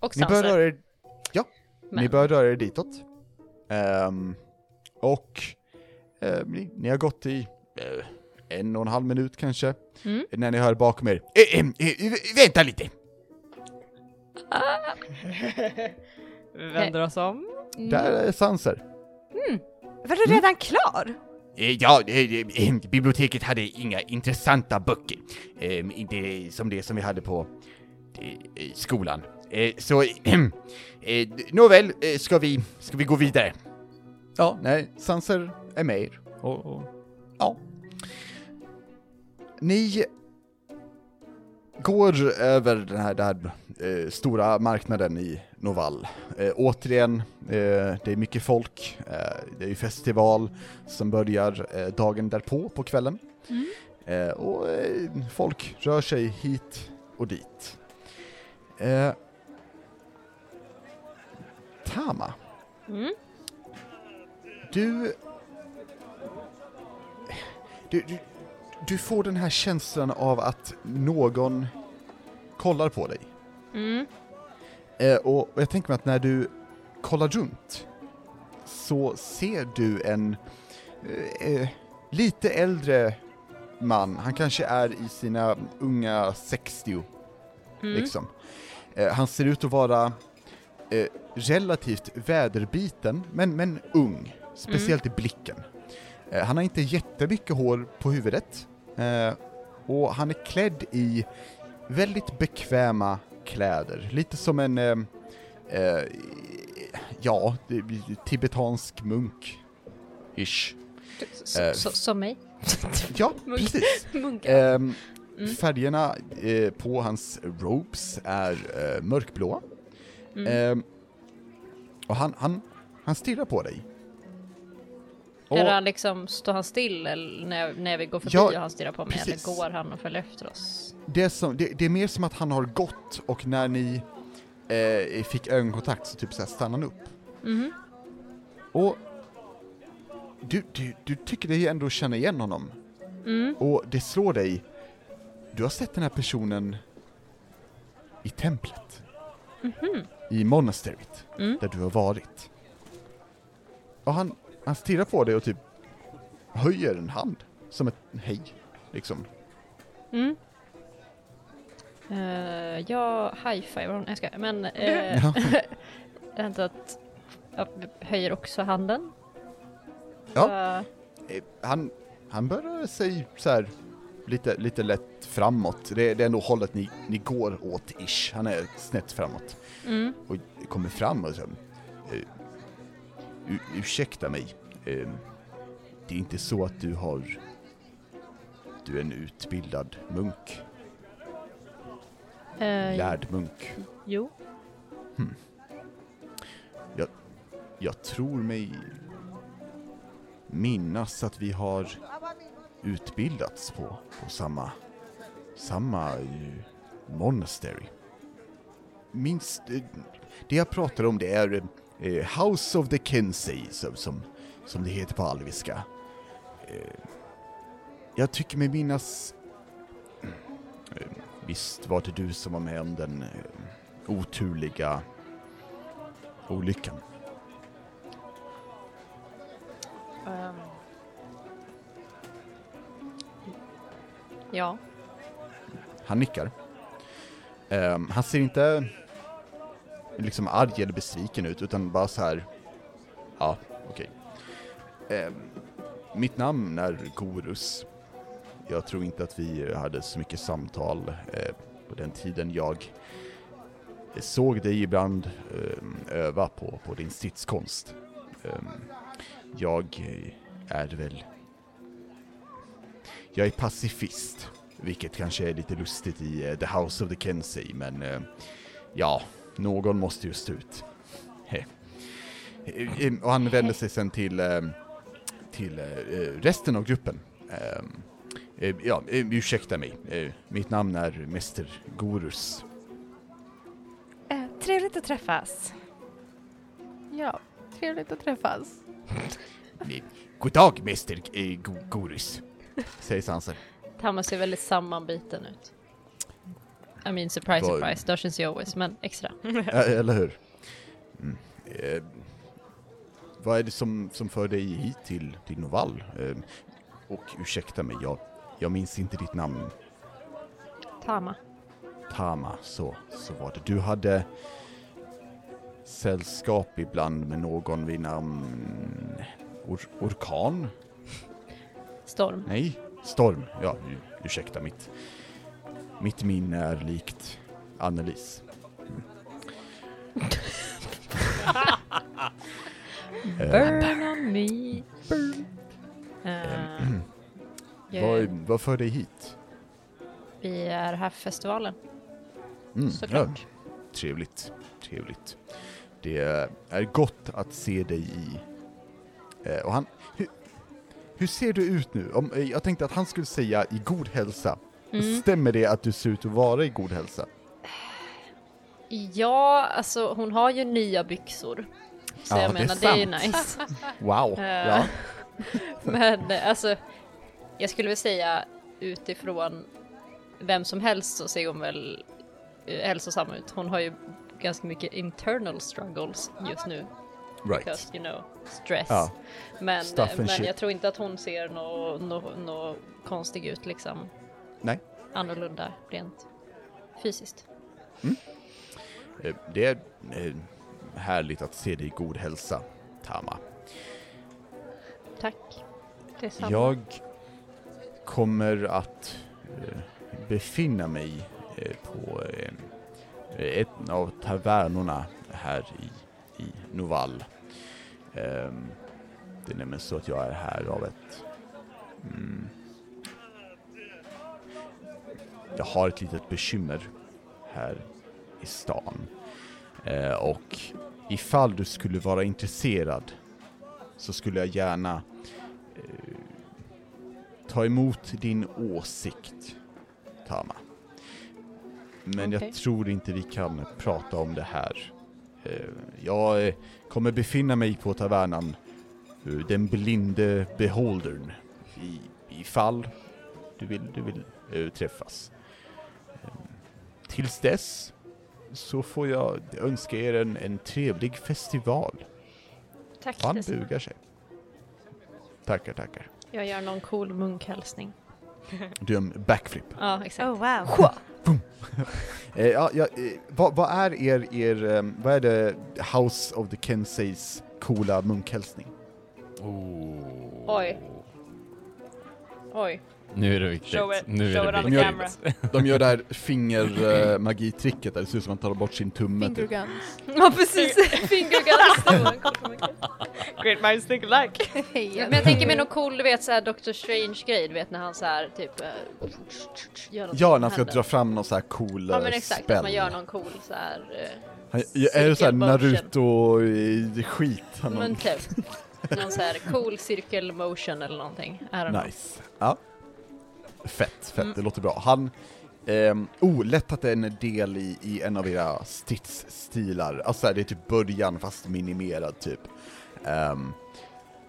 [SPEAKER 5] Och
[SPEAKER 2] ni börjar
[SPEAKER 5] Sanser.
[SPEAKER 2] röra er, ja, ni
[SPEAKER 5] Men-
[SPEAKER 2] börjar röra er ditåt. Ehm, och ehm, ni, ni har gått i eh, en och en halv minut kanske,
[SPEAKER 5] Mm.
[SPEAKER 2] när ni hör bakom er. Eh, ehm, eh, eh, vänta lite!
[SPEAKER 4] Vi vänder oss om.
[SPEAKER 2] Där är Sanser.
[SPEAKER 4] Mm. Var du redan klar?
[SPEAKER 8] Mm. Eh, Ja, eh, eh, biblioteket hade inga intressanta böcker. Eh, Inte som det som vi hade på eh, eh, skolan. Eh, Så, eh, nåväl, eh, ska vi, ska vi gå vidare?
[SPEAKER 2] Ja, nej, Sanser är med er. Och, och, ja. Ni går över den här, den här eh, stora marknaden i Novall. Eh, återigen, eh, det är mycket folk. Eh, det är ju festival som börjar eh, dagen därpå på kvällen. Eh, och eh, folk rör sig hit och dit. Eh, Tama. Du... Du, du... du får den här känslan av att någon kollar på dig. Eh, och, och jag tänker mig att när du kollar runt så ser du en eh, eh, lite äldre man. Han kanske är i sina unga 60,
[SPEAKER 4] Mm.
[SPEAKER 2] liksom. Eh, han ser ut att vara eh, relativt väderbiten, men, men ung. Speciellt i blicken. Eh, han har inte jättemycket hår på huvudet. Eh, och han är klädd i väldigt bekväma kläder. Lite som en... Eh, eh, ja, det, tibetansk munk. Ish.
[SPEAKER 5] S-
[SPEAKER 2] Eh,
[SPEAKER 5] s- Som mig.
[SPEAKER 2] Ja, precis.
[SPEAKER 7] Munkar.
[SPEAKER 2] Ehm, Färgerna eh, på hans robes är eh, mörkblåa. Ehm, och han, han, han stirrar på dig. Och,
[SPEAKER 5] Är han liksom, står han still eller när, jag, när vi går förbi
[SPEAKER 2] Ja,
[SPEAKER 5] och han stirrar på mig?
[SPEAKER 2] precis.
[SPEAKER 5] Eller går han och följer efter oss?
[SPEAKER 2] det, är som, det, det är mer som att han har gått och när ni eh, fick ögonkontakt så typ så här stannar han upp.
[SPEAKER 5] Mhm.
[SPEAKER 2] Och du, du, du tycker dig ändå känna igen honom.
[SPEAKER 5] Mm.
[SPEAKER 2] Och det slår dig. Du har sett den här personen i templet. I monasteryt.
[SPEAKER 5] Mm-hmm. Mm.
[SPEAKER 2] Där du har varit. Och han, han stirrar på dig och typ höjer en hand. Som ett hej. Liksom.
[SPEAKER 5] Mm. Eh, jag high-fivar honom, jag ska, men eh,
[SPEAKER 2] Ja.
[SPEAKER 5] vänta att jag höjer också handen.
[SPEAKER 2] Ja.
[SPEAKER 5] Så-
[SPEAKER 2] Eh, Han, han börjar sig så här lite, lite lätt framåt. Det, det är ändå hållet ni, ni går åt ish. Han är snett framåt.
[SPEAKER 5] mm.
[SPEAKER 2] Och kommer fram och så här, eh, "U- Ursäkta mig. Eh, det är inte så att du har... Du är en utbildad munk.
[SPEAKER 5] Eh,
[SPEAKER 2] Lärd munk.
[SPEAKER 5] Jo.
[SPEAKER 2] Jag tror mig minnas att vi har utbildats på, på samma, samma eh, monastery. Minst, eh, det jag pratar om det är eh, House of the Kinsey som, som, som det heter på alviska. Eh, Jag tycker mig minnas... Eh, Visst var det du som var med om den eh, oturliga olyckan?
[SPEAKER 5] ehm. Ja.
[SPEAKER 2] Han nickar. Ehm, han ser inte liksom arg eller besviken ut, utan bara så här. Ja, okej. Ehm, mitt namn är Gorus. Jag tror inte att vi hade så mycket samtal eh, på den tiden. Jag eh, såg dig ibland ehm, öva på, på din stridskonst. Ehm, jag eh, är väl... Jag är pacifist. Vilket kanske är lite lustigt i eh, The House of the Kensey, men eh, ja, någon måste ju stå ut. <laughs> Heh. Eh, eh, Och han vänder sig sen till, eh, till eh, eh, resten av gruppen. Ehm, eh, Ja, eh, ursäkta mig. Eh, Mitt namn är Mäster Gorus.
[SPEAKER 9] Eh, trevligt att träffas.
[SPEAKER 3] Ja, trevligt att träffas.
[SPEAKER 2] God dag, Mäster eh, Go- Gorus, säger Sanser.
[SPEAKER 5] Tamma ser väldigt sammanbiten ut. I mean surprise
[SPEAKER 2] Vad-
[SPEAKER 5] surprise, Dushin see always, men extra.
[SPEAKER 2] Ja, Eller hur? Mm. Eh, vad är det som, som för dig hit till, till Novall? Eh, och ursäkta mig, jag, jag minns inte ditt namn.
[SPEAKER 5] Tama.
[SPEAKER 2] Tama, så, så var det. Du hade sällskap ibland med någon vid namn... Or, orkan?
[SPEAKER 5] Storm.
[SPEAKER 2] Nej, Storm. Ja, u- ursäkta mitt... Mitt minne är likt Annelis. Mm. Eh,
[SPEAKER 5] Burn on me. Eh,
[SPEAKER 2] Vad,
[SPEAKER 5] jag,
[SPEAKER 2] vad för dig hit?
[SPEAKER 5] vi är här för festivalen.
[SPEAKER 2] Mm,
[SPEAKER 5] Såklart.
[SPEAKER 2] ja, trevligt, trevligt. Det är gott att se dig i... Eh, och han... Hur, hur ser du ut nu? Om, eh, jag tänkte att han skulle säga i god hälsa.
[SPEAKER 5] Mm.
[SPEAKER 2] Stämmer det att du ser ut att vara i god hälsa?
[SPEAKER 5] Ja, alltså hon har ju nya byxor. Så
[SPEAKER 2] Ja,
[SPEAKER 5] jag
[SPEAKER 2] det är
[SPEAKER 5] menar, det är, ju
[SPEAKER 2] sant.
[SPEAKER 5] nice.
[SPEAKER 2] Wow!
[SPEAKER 5] Eh, <laughs>
[SPEAKER 2] Ja.
[SPEAKER 5] Men eh, alltså, jag skulle väl säga utifrån vem som helst så ser hon väl eh, hälsosam ut. Hon har ju ganska mycket internal struggles just nu.
[SPEAKER 2] Right.
[SPEAKER 5] Because you know, stress.
[SPEAKER 2] Ja.
[SPEAKER 5] Men, eh,
[SPEAKER 2] Stuff and
[SPEAKER 5] men
[SPEAKER 2] shit.
[SPEAKER 5] jag tror inte att hon ser något nå nå konstig ut liksom.
[SPEAKER 2] Nej.
[SPEAKER 5] Annorlunda rent fysiskt.
[SPEAKER 2] Eh, Det är eh, härligt att se dig i god hälsa, Tama.
[SPEAKER 5] Tack.
[SPEAKER 9] Detsamma.
[SPEAKER 2] Jag kommer att eh, befinna mig eh, på eh, ett av tavernorna här i, i Novall. Ehm, det är nämligen så att jag är här av ett... Mm, jag har ett litet bekymmer här i stan. Eh, och ifall du skulle vara intresserad så skulle jag gärna eh, ta emot din åsikt, Tama. Men
[SPEAKER 4] Okej.
[SPEAKER 2] jag tror inte vi kan prata om det här. Eh, jag eh, kommer befinna mig på tavernan, eh, den blinde beholdern, i, ifall du vill, du vill eh, träffas. Eh, tills dess så får jag önska er en, en trevlig festival.
[SPEAKER 7] Tack
[SPEAKER 2] Han
[SPEAKER 7] detsamma.
[SPEAKER 2] bugar sig. Tackar, tackar.
[SPEAKER 7] Jag gör någon cool munkhälsning.
[SPEAKER 2] Du gör en backflip.
[SPEAKER 7] Ja, exakt.
[SPEAKER 9] Oh wow.
[SPEAKER 2] <laughs> Eh, ja, ja, eh, vad, vad är er, er ehm, vad är det House of the Kenseys coola munkhälsning?
[SPEAKER 1] Oh.
[SPEAKER 5] Oj. Oj. <laughs>
[SPEAKER 1] Nu är det viktigt.
[SPEAKER 4] Show it,
[SPEAKER 1] nu
[SPEAKER 4] show
[SPEAKER 1] är
[SPEAKER 4] it
[SPEAKER 1] det
[SPEAKER 4] on the
[SPEAKER 2] Gör det.
[SPEAKER 4] camera.
[SPEAKER 2] De gör det här fingermagitricket där det ser ut som att man tar bort sin tumme. typ.
[SPEAKER 3] Finger guns.
[SPEAKER 5] Ja
[SPEAKER 4] <laughs>
[SPEAKER 5] precis, fingerguns.
[SPEAKER 4] Great minds think alike.
[SPEAKER 5] Men jag tänker mig någon cool, du vet såhär Doctor Strange grej, du vet när han såhär typ... eh, gör något
[SPEAKER 2] Ja, när
[SPEAKER 5] med
[SPEAKER 2] han ska
[SPEAKER 5] handen.
[SPEAKER 2] dra fram någon så här cool
[SPEAKER 5] Ja
[SPEAKER 2] eh,
[SPEAKER 5] men exakt,
[SPEAKER 2] spell.
[SPEAKER 5] att man gör någon cool såhär... eh,
[SPEAKER 2] Han, är det så här
[SPEAKER 5] cirkelmotion.
[SPEAKER 2] Naruto-skit? Han har- <laughs>
[SPEAKER 5] Men typ. Någon såhär cool circle motion eller någonting. I don't know.
[SPEAKER 2] Nice. Ja. Fett, fett, det låter bra. Han... Ehm, oh, lätt att det är en del i, i en av era stridsstilar. Alltså så här, det är typ början fast minimerad typ. Ehm,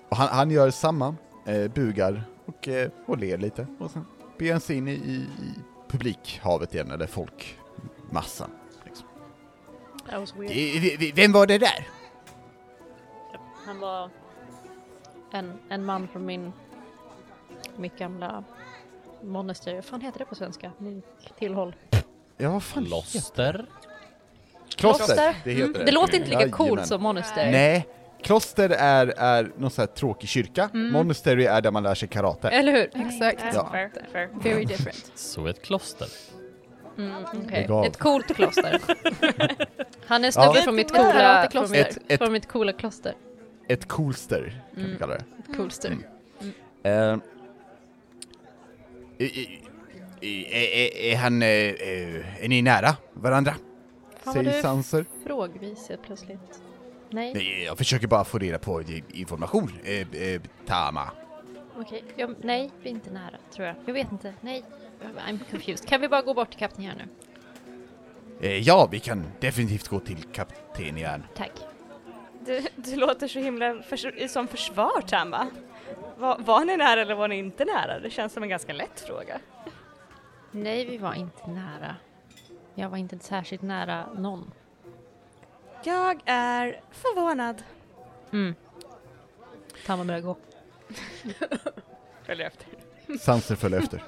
[SPEAKER 2] och han, han gör samma, eh, bugar och, eh, och ler lite. Och sen beger han sig in i, i, i publikhavet igen, eller folkmassan. Liksom.
[SPEAKER 7] That was weird.
[SPEAKER 2] Eh, v- v- Vem var det där?
[SPEAKER 7] Han var en, en man från min, mitt gamla monastery. Vad fan heter det på svenska? Min tillhåll.
[SPEAKER 2] Ja, vad fan
[SPEAKER 1] Kloster?
[SPEAKER 2] Kloster! Det heter
[SPEAKER 7] Mm, det låter inte lika coolt
[SPEAKER 2] Jajamän.
[SPEAKER 7] som monastery.
[SPEAKER 2] Nej, kloster är, är någon sån här tråkig kyrka, monastery är där man lär sig karate.
[SPEAKER 5] Eh.
[SPEAKER 7] Eller hur?
[SPEAKER 3] Exakt.
[SPEAKER 2] Ja.
[SPEAKER 4] Fair, fair.
[SPEAKER 3] Very different.
[SPEAKER 1] Så ett kloster.
[SPEAKER 7] Mm, okej.
[SPEAKER 2] Lägg av.
[SPEAKER 7] Ett coolt kloster. Han är en snubbe
[SPEAKER 2] Ja.
[SPEAKER 7] från, mitt
[SPEAKER 3] Ett
[SPEAKER 7] coola, från,
[SPEAKER 3] karatekloster.
[SPEAKER 7] mitt-
[SPEAKER 2] Ett- ett-
[SPEAKER 7] från mitt coola kloster.
[SPEAKER 2] Ett coolster, kan vi kalla det.
[SPEAKER 7] Ett coolster.
[SPEAKER 2] Eh,
[SPEAKER 8] I- i- i- Är, är, är han... eh, eh, Är ni nära varandra?
[SPEAKER 7] Fan vad du
[SPEAKER 2] säger
[SPEAKER 7] är
[SPEAKER 2] Sanser.
[SPEAKER 7] frågvis helt plötsligt. Nej,
[SPEAKER 8] Nej, Jag försöker bara få reda på eh, information, eh, eh, Tama.
[SPEAKER 7] okej. Ja, nej, vi är inte nära tror jag. Jag vet inte. Nej, I'm confused. Kan vi bara gå bort till kapten här nu?
[SPEAKER 8] Eh, Ja, vi kan definitivt gå till kapten igen.
[SPEAKER 7] Tack.
[SPEAKER 4] Du, du låter så himla förs- som försvar Tamba. Var, var ni nära eller var ni inte nära? Det känns som en ganska lätt fråga.
[SPEAKER 7] Nej, vi var inte nära. Jag var inte särskilt nära någon.
[SPEAKER 4] Jag är förvånad.
[SPEAKER 7] Mm. Tamma börjar gå.
[SPEAKER 4] Följ efter.
[SPEAKER 2] Sanser följer efter.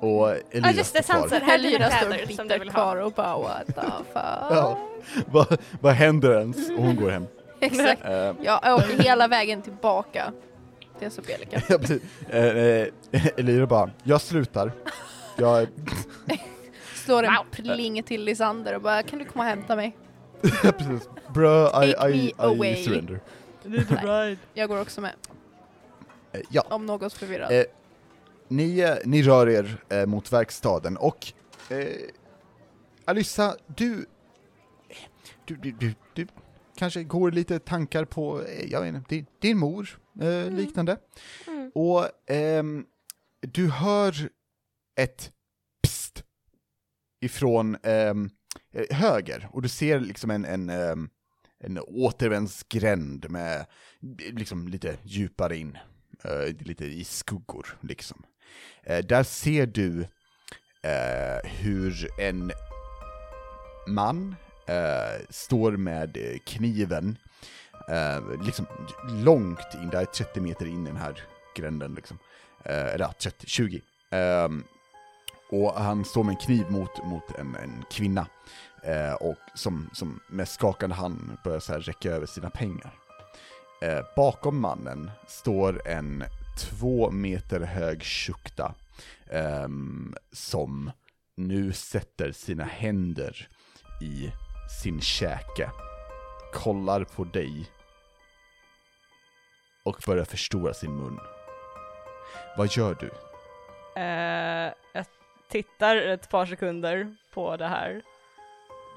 [SPEAKER 2] Och Elias står kvar.
[SPEAKER 3] Här lyra står bitter kvar och bara what the fuck.
[SPEAKER 2] Ja. Vad, vad händer ens? Och hon går hem.
[SPEAKER 3] Exakt.
[SPEAKER 2] Eh,
[SPEAKER 3] Jag åker hela vägen tillbaka till Sobelika.
[SPEAKER 2] jag blir- eh, eh, Elira bara, jag slutar. <laughs> Jag,
[SPEAKER 3] Slår en pling till Lisander och bara kan du komma och hämta mig?
[SPEAKER 2] precis, brö, I,
[SPEAKER 3] Take me
[SPEAKER 2] I, I,
[SPEAKER 3] away.
[SPEAKER 2] surrender.
[SPEAKER 3] Jag går också med.
[SPEAKER 2] Eh, ja,
[SPEAKER 3] Om något förvirrad.
[SPEAKER 2] Eh, Ni, eh, ni rör er eh, mot verkstaden och eh, Alyssa, du, du, du, du, du kanske går lite tankar på, eh, jag vet inte, din, din mor, eh, liknande. Och ehm, du hör ett pst ifrån ehm, eh, höger och du ser liksom en, en, ehm, en återvändsgränd med eh, liksom lite djupare in eh, lite i skuggor liksom. Eh, där ser du eh, hur en man eh, står med eh, kniven eh, liksom långt in, där 30 meter in i den här gränden liksom. Eh, eller ja, 30, 20. Eh, och han står med en kniv mot, mot en, en kvinna. Eh, och som, som med skakande hand börjar så här räcka över sina pengar. Eh, bakom mannen står en två meter hög Shukta ehm, som nu sätter sina händer i sin käke, kollar på dig och börjar förstora sin mun. Vad gör du?
[SPEAKER 4] Eh, jag tittar ett par sekunder på det här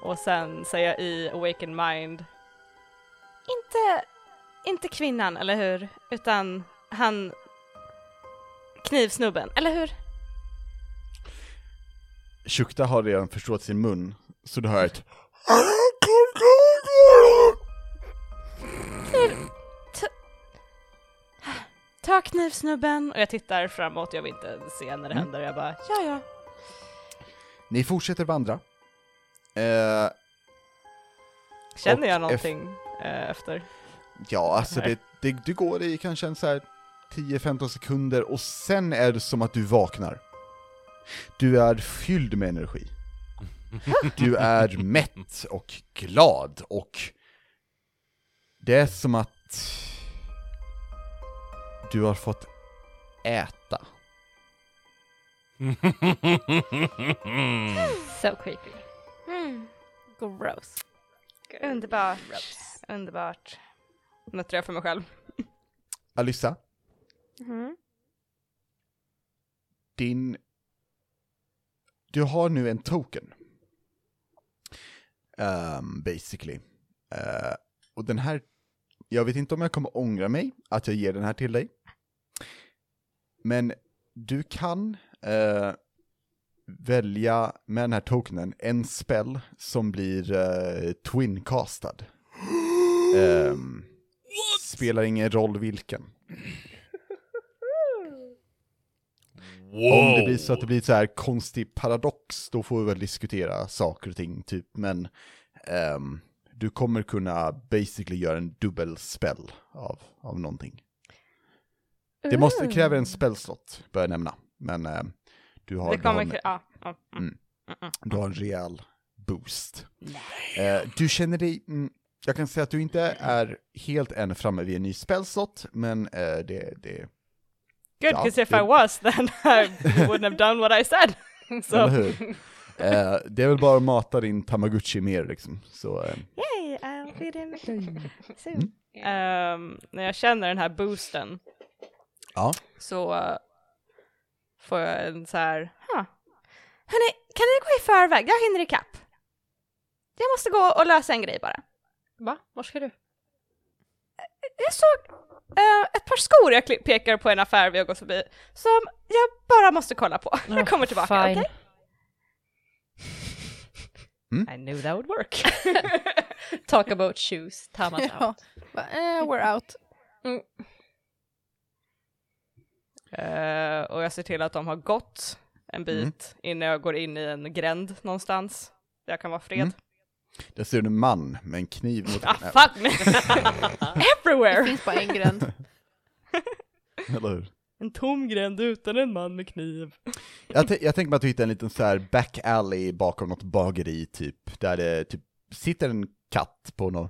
[SPEAKER 4] och sen säger jag i awaken mind. Inte, inte kvinnan, eller hur? Utan han knivsnubben, eller hur?
[SPEAKER 2] Shukta har redan förstorat sin mun, så du hör ett
[SPEAKER 4] Ta knivsnubben! Och jag tittar framåt, jag vill inte se
[SPEAKER 2] Mm.
[SPEAKER 4] när det händer. Jag bara, ja ja.
[SPEAKER 2] Ni fortsätter vandra. Eh,
[SPEAKER 4] Känner
[SPEAKER 2] Och
[SPEAKER 4] jag
[SPEAKER 2] eff-
[SPEAKER 4] någonting eh, efter?
[SPEAKER 2] ja, alltså
[SPEAKER 4] Nej.
[SPEAKER 2] det, det, du går i kanske en så här 10-15 sekunder och sen är det som att du vaknar. Du är fylld med energi. Du är mätt och glad och det är som att du har fått äta.
[SPEAKER 5] So creepy.
[SPEAKER 4] Gross.
[SPEAKER 9] Underbart.
[SPEAKER 4] Underbart. Muttrar jag för mig själv.
[SPEAKER 2] Alyssa,
[SPEAKER 9] Mhm.
[SPEAKER 2] din... Du har nu en token. Ehm, basically. Eh, och den här... Jag vet inte om jag kommer ångra mig att jag ger den här till dig. Men du kan eh, välja med den här tokenen en spell som blir eh, twincastad. Ehm, spelar ingen roll vilken. Om det blir så att det blir så här konstig paradox, då får vi väl diskutera saker och ting, typ. Men ehm, du kommer kunna basically göra en dubbel spell av, av någonting. Det måste kräva en spellslott, bör jag nämna. Men ehm, du, har,
[SPEAKER 4] Det
[SPEAKER 2] du, har
[SPEAKER 4] kommer...
[SPEAKER 2] en,
[SPEAKER 4] kri- Ja. ja, mm.
[SPEAKER 2] Mm. du har en rejäl boost. Eh, du känner dig... Mm, jag kan säga att du inte är helt än framme vid en ny spellslott, men eh, det... det
[SPEAKER 4] Good,
[SPEAKER 2] Ja,
[SPEAKER 4] because if
[SPEAKER 2] det-
[SPEAKER 4] I was then I wouldn't have done what I said. <laughs>
[SPEAKER 2] Eller
[SPEAKER 4] So,
[SPEAKER 2] hur? Eh, det är väl bara att mata din Tamagotchi mer liksom. Så, eh,
[SPEAKER 9] Yay, I'll be
[SPEAKER 4] Mm.
[SPEAKER 9] there soon.
[SPEAKER 4] ehm, när jag känner den här boosten
[SPEAKER 2] ja.
[SPEAKER 4] så eh, får jag en så här, huh.
[SPEAKER 9] Hörni, kan ni gå i förväg? Jag hinner ikapp. Jag måste gå och lösa en grej bara.
[SPEAKER 5] Va? Var ska du?
[SPEAKER 4] Jag såg eh, ett par skor jag kli- pekar på en affär vi har gått förbi som jag bara måste kolla på. <laughs> jag kommer tillbaka, okej?
[SPEAKER 5] fine.
[SPEAKER 2] Mm.
[SPEAKER 4] I knew that would work.
[SPEAKER 5] Talk about shoes. Tamas out.
[SPEAKER 3] <laughs> Ja. Va, eh, we're out.
[SPEAKER 4] <laughs> Eh, och jag ser till att de har gått en bit
[SPEAKER 2] Mm.
[SPEAKER 4] innan jag går in i en gränd någonstans. Där jag kan vara fred.
[SPEAKER 2] Mm. Där ser du en man med en kniv mot
[SPEAKER 4] Ah,
[SPEAKER 2] <laughs>
[SPEAKER 4] fuck me! <laughs>
[SPEAKER 3] Det
[SPEAKER 4] Everywhere!
[SPEAKER 3] finns bara en gränd.
[SPEAKER 2] eller hur?
[SPEAKER 4] En tom gränd utan en man med kniv.
[SPEAKER 2] Jag, tän- jag tänker mig att du hittar en liten så här back alley bakom något bageri typ, där det typ sitter en katt på någon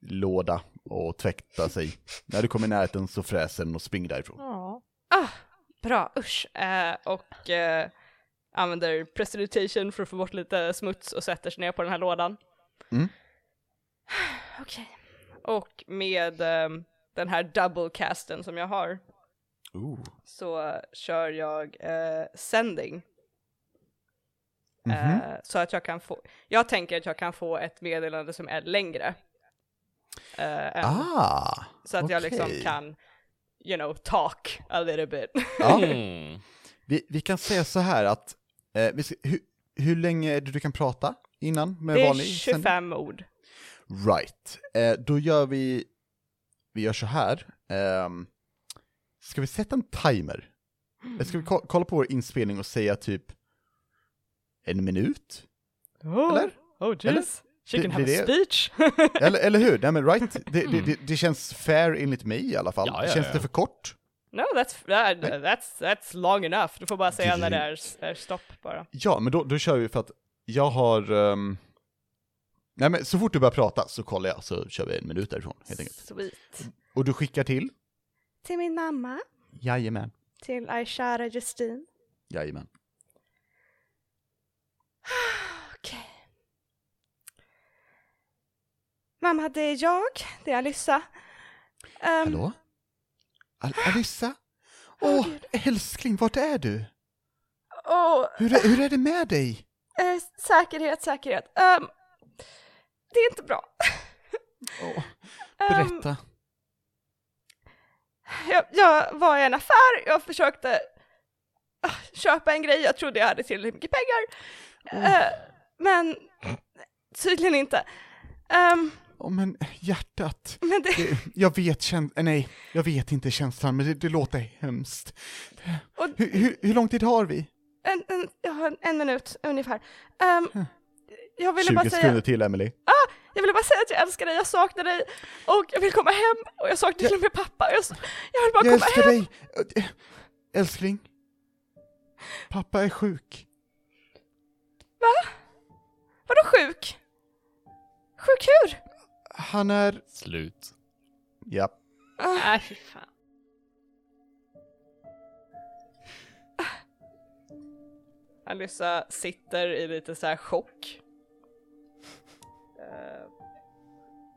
[SPEAKER 2] låda och tvättar sig. När du kommer i närheten så fräser den och springer därifrån.
[SPEAKER 4] Ah, bra, usch. Eh, och eh, använder prestidigitation för att få bort lite smuts och sätter sig ner på den här lådan.
[SPEAKER 2] Mm.
[SPEAKER 4] <sighs> Okej. Och med ehm, den här double casten som jag har så eh, kör jag eh, sending.
[SPEAKER 2] Mhm.
[SPEAKER 4] Eh, så att jag kan få, jag tänker att jag kan få ett meddelande som är längre. Eh, än-
[SPEAKER 2] Ah!
[SPEAKER 4] så att jag liksom
[SPEAKER 2] okej.
[SPEAKER 4] kan, you know, talk a little bit.
[SPEAKER 2] Ja.
[SPEAKER 1] Mm.
[SPEAKER 2] Vi, vi kan säga så här att, eh, vi ska, hur, hur länge är det du kan prata innan med
[SPEAKER 4] det är
[SPEAKER 2] vanlig sändning?
[SPEAKER 4] 25 ord.
[SPEAKER 2] Right. Eh, då gör vi, vi gör så här. Ehm, ska vi sätta en timer? Mm. Ska vi ko- kolla på vår inspelning och säga typ en minut?
[SPEAKER 4] Oh,
[SPEAKER 2] Eller?
[SPEAKER 4] Oh jeez. She
[SPEAKER 2] Det-
[SPEAKER 4] can
[SPEAKER 2] det
[SPEAKER 4] have
[SPEAKER 2] är
[SPEAKER 4] a
[SPEAKER 2] det.
[SPEAKER 4] speech. <laughs>
[SPEAKER 2] Eller, eller hur? Nej men right, det, det, det, det känns fair enligt mig i alla fall.
[SPEAKER 1] Mm. Ja, ja,
[SPEAKER 2] känns
[SPEAKER 1] ja.
[SPEAKER 2] det för kort?
[SPEAKER 4] no, that's, that, that's, that's long enough. Du får bara säga när det är, är stopp bara.
[SPEAKER 2] Ja, men då, då kör vi för att jag har... ehm, Nej men så fort du börjar prata så kollar jag så kör vi en minut därifrån helt enkelt.
[SPEAKER 4] Sweet.
[SPEAKER 2] Och du skickar till?
[SPEAKER 9] Till min mamma,
[SPEAKER 2] Jajamän.
[SPEAKER 9] till Ai kära Justine.
[SPEAKER 2] Jajamän.
[SPEAKER 9] Ehm. Okej. mamma, det är jag. Det är Alyssa. Ehm,
[SPEAKER 2] Hallå? Al- Alissa? Åh, älskling, vart är du?
[SPEAKER 9] Och
[SPEAKER 2] Hur är, hur är det med dig?
[SPEAKER 9] eh, säkerhet, säkerhet. Ehm, det är inte bra.
[SPEAKER 2] Åh,
[SPEAKER 9] Ehm,
[SPEAKER 2] berätta.
[SPEAKER 9] jag, jag var i en affär, jag försökte ah, köpa en grej, jag trodde jag hade tillräckligt mycket pengar.
[SPEAKER 2] Mm.
[SPEAKER 9] Eh, men tydligen inte. Ehm,
[SPEAKER 2] Åh, men hjärtat.
[SPEAKER 9] men det,
[SPEAKER 2] Det, jag vet kän- eh, nej, jag vet inte känslan, men det, det låter hemskt.
[SPEAKER 9] Och-
[SPEAKER 2] Hur, hur, hur lång tid har vi?
[SPEAKER 9] en, en, jag har en, en minut ungefär. Ehm, jag, ville
[SPEAKER 2] 20
[SPEAKER 9] bara
[SPEAKER 2] sekunder
[SPEAKER 9] säga,
[SPEAKER 2] till, Emily.
[SPEAKER 9] jag ville bara säga att jag älskar dig, jag saknar dig och jag vill komma hem och jag saknar till och med pappa. Jag, s- jag vill bara
[SPEAKER 2] Jag älskar
[SPEAKER 9] komma hem.
[SPEAKER 2] dig! Äh, Älskling. Pappa är sjuk.
[SPEAKER 9] Vadå sjuk? Sjuk hur?
[SPEAKER 2] Han är...
[SPEAKER 1] Slut.
[SPEAKER 2] Ja.
[SPEAKER 5] Nej,
[SPEAKER 7] Äh,
[SPEAKER 5] fy fan.
[SPEAKER 4] Alyssa sitter i lite så här chock. Eh,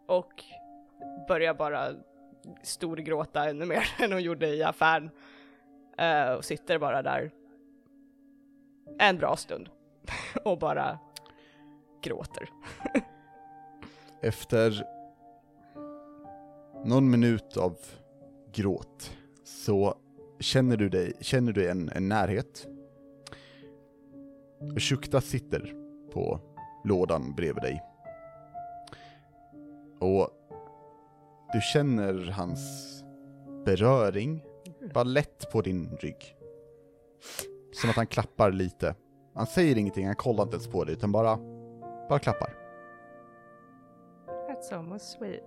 [SPEAKER 4] och börjar bara storgråta ännu mer <laughs> än hon gjorde i affären. Eh, och sitter bara där en bra stund <laughs> och bara gråter.
[SPEAKER 2] Efter någon minut av gråt så känner du dig, känner du en, en närhet. Och Shukta sitter på lådan bredvid dig. Och du känner hans beröring, bara lätt på din rygg. Som att han klappar lite. Han säger ingenting, han kollar inte ens på dig utan bara, bara klappar.
[SPEAKER 4] That's almost sweet.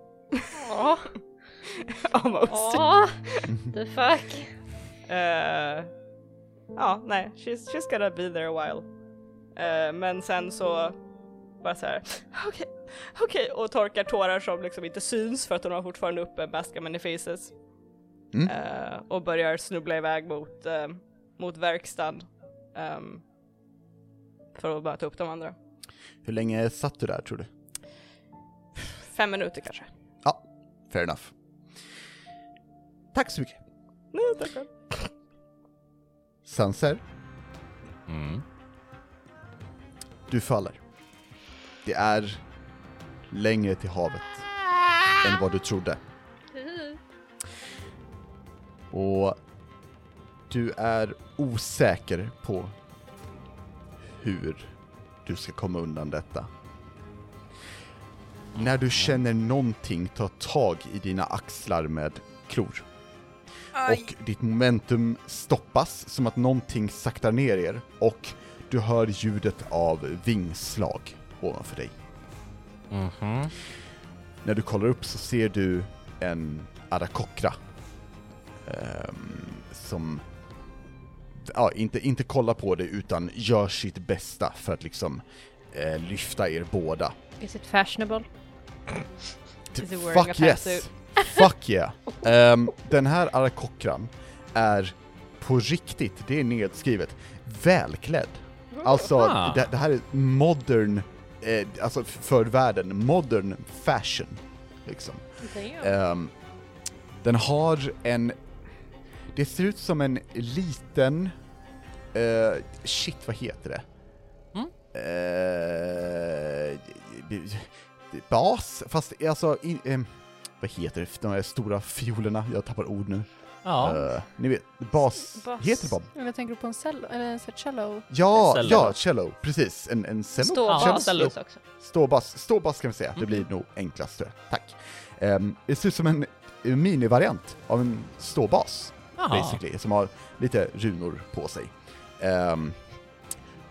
[SPEAKER 5] Åh,
[SPEAKER 4] <laughs> almost.
[SPEAKER 5] åh, the fuck.
[SPEAKER 4] Eh, ja, nej, she's, she's gonna be there a while. Eh, men sen så bara så här, <laughs> okej, okej, och torkar tårar som liksom inte syns för att hon har fortfarande uppe Baskamen faces.
[SPEAKER 2] Mm.
[SPEAKER 4] Eh, och börjar snubbla iväg mot, eh, mot verkstaden. ehm, för att bara ta upp de andra.
[SPEAKER 2] Hur länge satt du där tror du?
[SPEAKER 4] Fem minuter kanske.
[SPEAKER 2] Fair enough. Tack så mycket.
[SPEAKER 4] Nej, tackar.
[SPEAKER 2] Sanser,
[SPEAKER 1] Mm.
[SPEAKER 2] du faller. Det är längre till havet än vad du trodde. Och du är osäker på hur du ska komma undan detta. När du känner någonting ta tag i dina axlar med klor. Och ditt momentum stoppas som att någonting saktar ner er och du hör ljudet av vingslag ovanför dig.
[SPEAKER 1] Mhm.
[SPEAKER 2] När du kollar upp så ser du en arakokra. ehm, som ja, inte, inte kollar på dig utan gör sitt bästa för att liksom eh, lyfta er båda.
[SPEAKER 5] Is it fashionable?
[SPEAKER 4] Is it wearing a
[SPEAKER 2] Fuck yes!
[SPEAKER 4] pantsuit?
[SPEAKER 2] Fuck yeah! Ehm, den här arakokran är på riktigt, det är nedskrivet, välklädd. Alltså,
[SPEAKER 1] Ah.
[SPEAKER 2] det, det här är modern, eh, alltså f- för världen, modern fashion. Liksom. Ehm, den har en, det ser ut som en liten, eh, shit vad heter det? Eh, bas, fast alltså, in, ehm, vad heter det, de här stora fiolerna, jag tappar ord nu.
[SPEAKER 6] Ja.
[SPEAKER 2] Eh, ni vet, bas,
[SPEAKER 5] Bas.
[SPEAKER 2] heter det bara
[SPEAKER 3] Men jag tänker på en cello, eller en sorts cello.
[SPEAKER 2] Ja,
[SPEAKER 6] Cello.
[SPEAKER 2] ja, cello, precis. En, en cello?
[SPEAKER 5] Ståbas
[SPEAKER 2] cello?
[SPEAKER 6] cello. Mm.
[SPEAKER 5] finns också.
[SPEAKER 2] Ståbass, ståbass kan vi säga. Det blir nog enklast tror jag. Tack. Ehm, det ser ut som en minivariant av en ståbas,
[SPEAKER 6] Jaha.
[SPEAKER 2] basically, som har lite runor på sig. Ehm,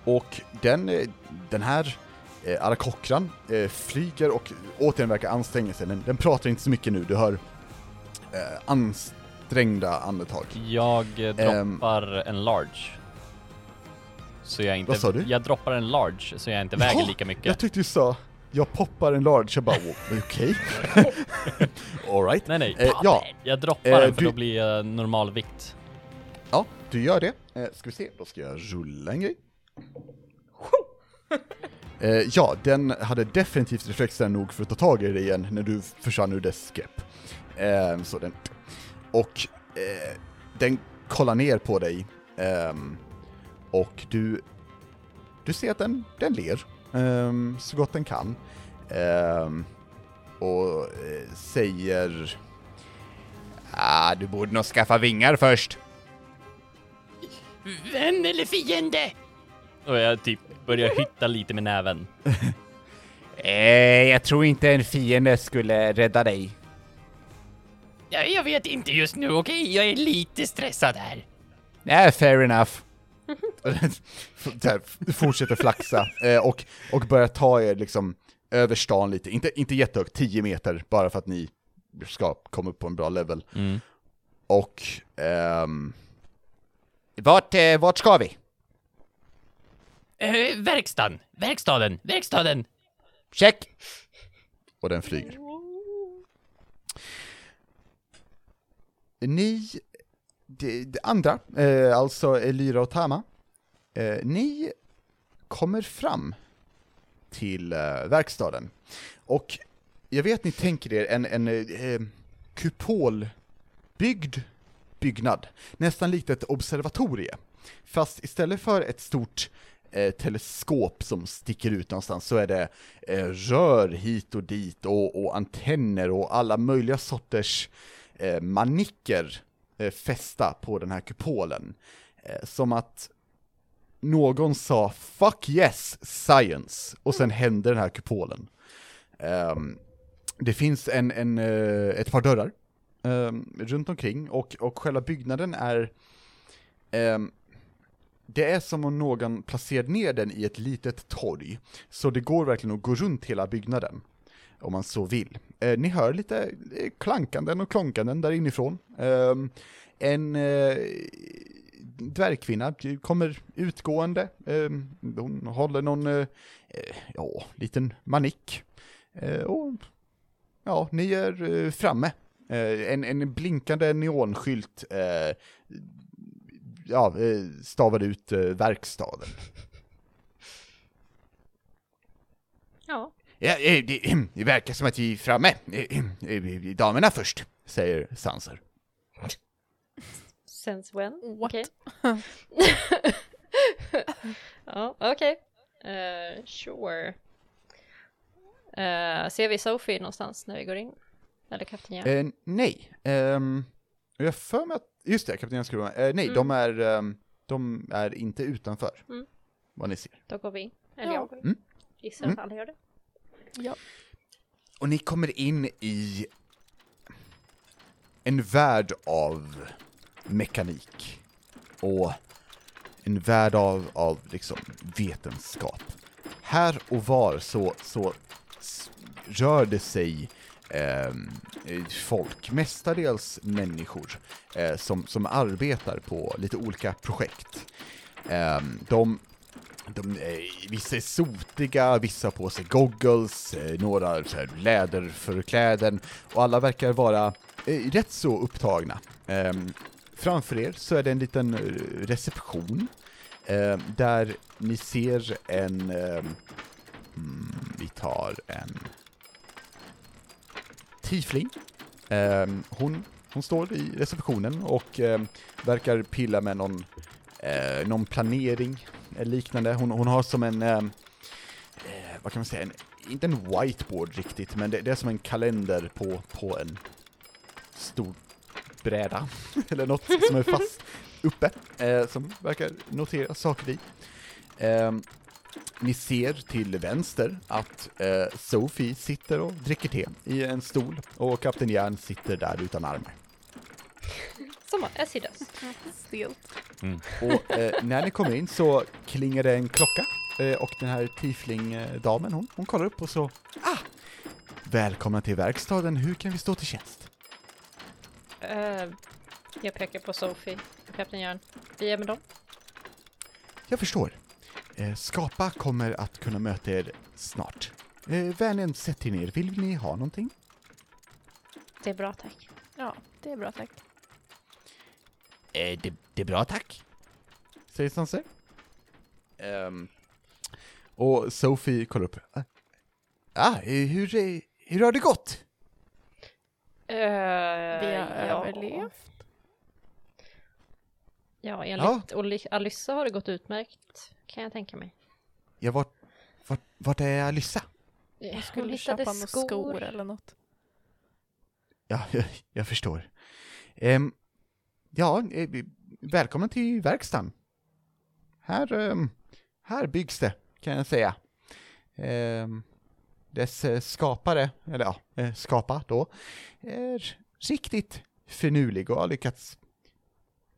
[SPEAKER 2] och den, eh, den här eh, arakokran eh, flyger och återigen verkar anstränga sig. Den, den pratar inte så mycket nu, du hör eh, ansträngda andetag.
[SPEAKER 6] Jag eh,
[SPEAKER 2] Ehm.
[SPEAKER 6] droppar en large. Så jag inte...
[SPEAKER 2] Vad sa du?
[SPEAKER 6] Jag droppar en large så jag inte väger
[SPEAKER 2] Jaha,
[SPEAKER 6] lika mycket.
[SPEAKER 2] Jag tyckte du sa, jag poppar en large, jag bara "Wow, okej.
[SPEAKER 6] <laughs>
[SPEAKER 2] <laughs> Alright.
[SPEAKER 6] Nej, nej.
[SPEAKER 2] Eh, ja,
[SPEAKER 6] Jag droppar
[SPEAKER 2] Eh,
[SPEAKER 6] den för
[SPEAKER 2] du-
[SPEAKER 6] då blir jag normalvikt.
[SPEAKER 2] ja, du gör det. Eh, ska vi se, då ska jag rulla en grej. Eh, ja, den hade definitivt reflexer nog för att ta tag i dig igen när du försvann ur dess grepp. Eh, så den... Och eh, den kollar ner på dig ehm, och du... Du ser att den, den ler ehm, så gott den kan. Ehm, och eh, säger...
[SPEAKER 8] Ah, du borde nog skaffa vingar först.
[SPEAKER 10] Vän eller fiende?
[SPEAKER 1] Och jag typ börjar hytta lite med näven.
[SPEAKER 8] Eh, jag tror inte en fiende skulle rädda dig.
[SPEAKER 10] Ja, jag vet inte just nu, okej? Jag är lite stressad här.
[SPEAKER 8] Nej, Eh, fair enough.
[SPEAKER 2] Och den f- <laughs> så här, f- fortsätter flaxa eh, och, och börjar ta er liksom över stan lite, inte, inte jättehögt, 10 meter, bara för att ni ska komma upp på en bra level.
[SPEAKER 8] Mm.
[SPEAKER 2] Och ehm,
[SPEAKER 8] Vart, eh, vart ska vi?
[SPEAKER 10] Eh, verkstaden, verkstaden, verkstaden.
[SPEAKER 8] Check!
[SPEAKER 2] och den flyger. Ni, de, de andra, eh, alltså Lyra och Tama, eh, ni kommer fram till eh, verkstaden. Och jag vet ni tänker er en, en eh, eh, kupolbyggd byggnad, nästan likt ett observatorie. Fast istället för ett stort eh, teleskop som sticker ut någonstans så är det eh, rör hit och dit och, och antenner och alla möjliga sorters eh, manicker eh, fästa på den här kupolen. Eh, som att någon sa 'fuck yes, science' och sen hände den här kupolen. Ehm, det finns en, en, eh, ett par dörrar ehm, runt omkring och, och själva byggnaden är ehm, det är som om någon placerade ner den i ett litet torg, så det går verkligen att gå runt hela byggnaden, om man så vill. Eh, ni hör lite eh, klankanden och klonkanden där inifrån. Ehm, en eh, dvärgkvinna kommer utgående, Ehm, hon håller någon, eh, eh, ja, liten manick. Eh, och, ja, ni är eh, framme. Eh, en, en blinkande neonskylt eh, ja, eh, stavar ut eh, verkstaden.
[SPEAKER 7] Ja.
[SPEAKER 8] Ja, eh, det,
[SPEAKER 2] <clears throat>
[SPEAKER 8] det verkar som att vi är framme. Eh, eh, Damerna först,
[SPEAKER 2] Säger Sanser.
[SPEAKER 7] Since when?
[SPEAKER 3] What?
[SPEAKER 7] Okej. ja, okej. Eh, sure. Eh, ser vi Sophie någonstans när vi går in? Eller kapten Jack?
[SPEAKER 2] Eh, nej. Ehm, och jag har för mig att, just det, kapten Skruva. Eh, nej, de, är, ehm, de är inte utanför.
[SPEAKER 7] Mm.
[SPEAKER 2] Vad ni ser.
[SPEAKER 7] Då går vi in. Eller
[SPEAKER 3] Ja.
[SPEAKER 7] jag går in.
[SPEAKER 2] Mm.
[SPEAKER 7] Gissar mm. alla gör det.
[SPEAKER 2] Och ni kommer in i en värld av mekanik. Och en värld av, av liksom vetenskap. Här och var så, så s- rör det sig ehm, eh, folk, mestadels människor, eh, som, som arbetar på lite olika projekt. Ehm, de de, eh, vissa är sotiga, vissa har på sig goggles, eh, några har så här läderförkläden och alla verkar vara eh, rätt så upptagna. Ehm, framför er så är det en liten eh, reception ehm, där ni ser en... ehm, mm, vi tar en... Tiefling. Ehm, hon, hon står i receptionen och ehm, verkar pilla med någon, eh, någon planering eller eh, liknande. Hon, hon har som en, eh, eh, vad kan man säga, en, inte en whiteboard riktigt, men det, det är som en kalender på, på en stor bräda, <laughs> eller något som är fast uppe, eh, som verkar notera saker i. Eh, ni ser till vänster att eh, Sophie sitter och dricker te i en stol och Kapten Järn sitter där utan armar.
[SPEAKER 7] Som as he does.
[SPEAKER 3] Stelt.
[SPEAKER 2] Och eh, när ni kommer in så klingar det en klocka eh, och den här tiefling-damen hon, hon kollar upp och så ah! Välkomna till verkstaden, hur kan vi stå till tjänst?
[SPEAKER 7] Eh, jag pekar på Sophie och kapten Jörn. Vi är med dem.
[SPEAKER 2] Jag förstår. Eh, Skapa kommer att kunna möta er snart. Eh, vänligen sätt er ner, vill ni ha någonting?
[SPEAKER 7] Det är bra tack.
[SPEAKER 3] Ja, det är bra tack.
[SPEAKER 8] Eh, det, det är bra tack.
[SPEAKER 2] Säger Sanser. Ehm, Och Sophie kollar upp. Ah, hur, eh, hur har det gått?
[SPEAKER 5] Eh,
[SPEAKER 3] Vi har
[SPEAKER 5] ja.
[SPEAKER 3] överlevt.
[SPEAKER 5] Ja, enligt Oli- Alyssa har det gått utmärkt, kan jag tänka mig.
[SPEAKER 2] Ja, vart, vart, vart är Alyssa?
[SPEAKER 5] Jag
[SPEAKER 3] Skulle köpa några skor. eller något.
[SPEAKER 2] Ja, <laughs> jag, jag förstår. Ehm, ja, eh, välkommen till verkstaden. Här, ehm, här byggs det, kan jag säga. Ehm, dess eh, skapare, eller ja, eh, skapa då, är riktigt finurlig och har lyckats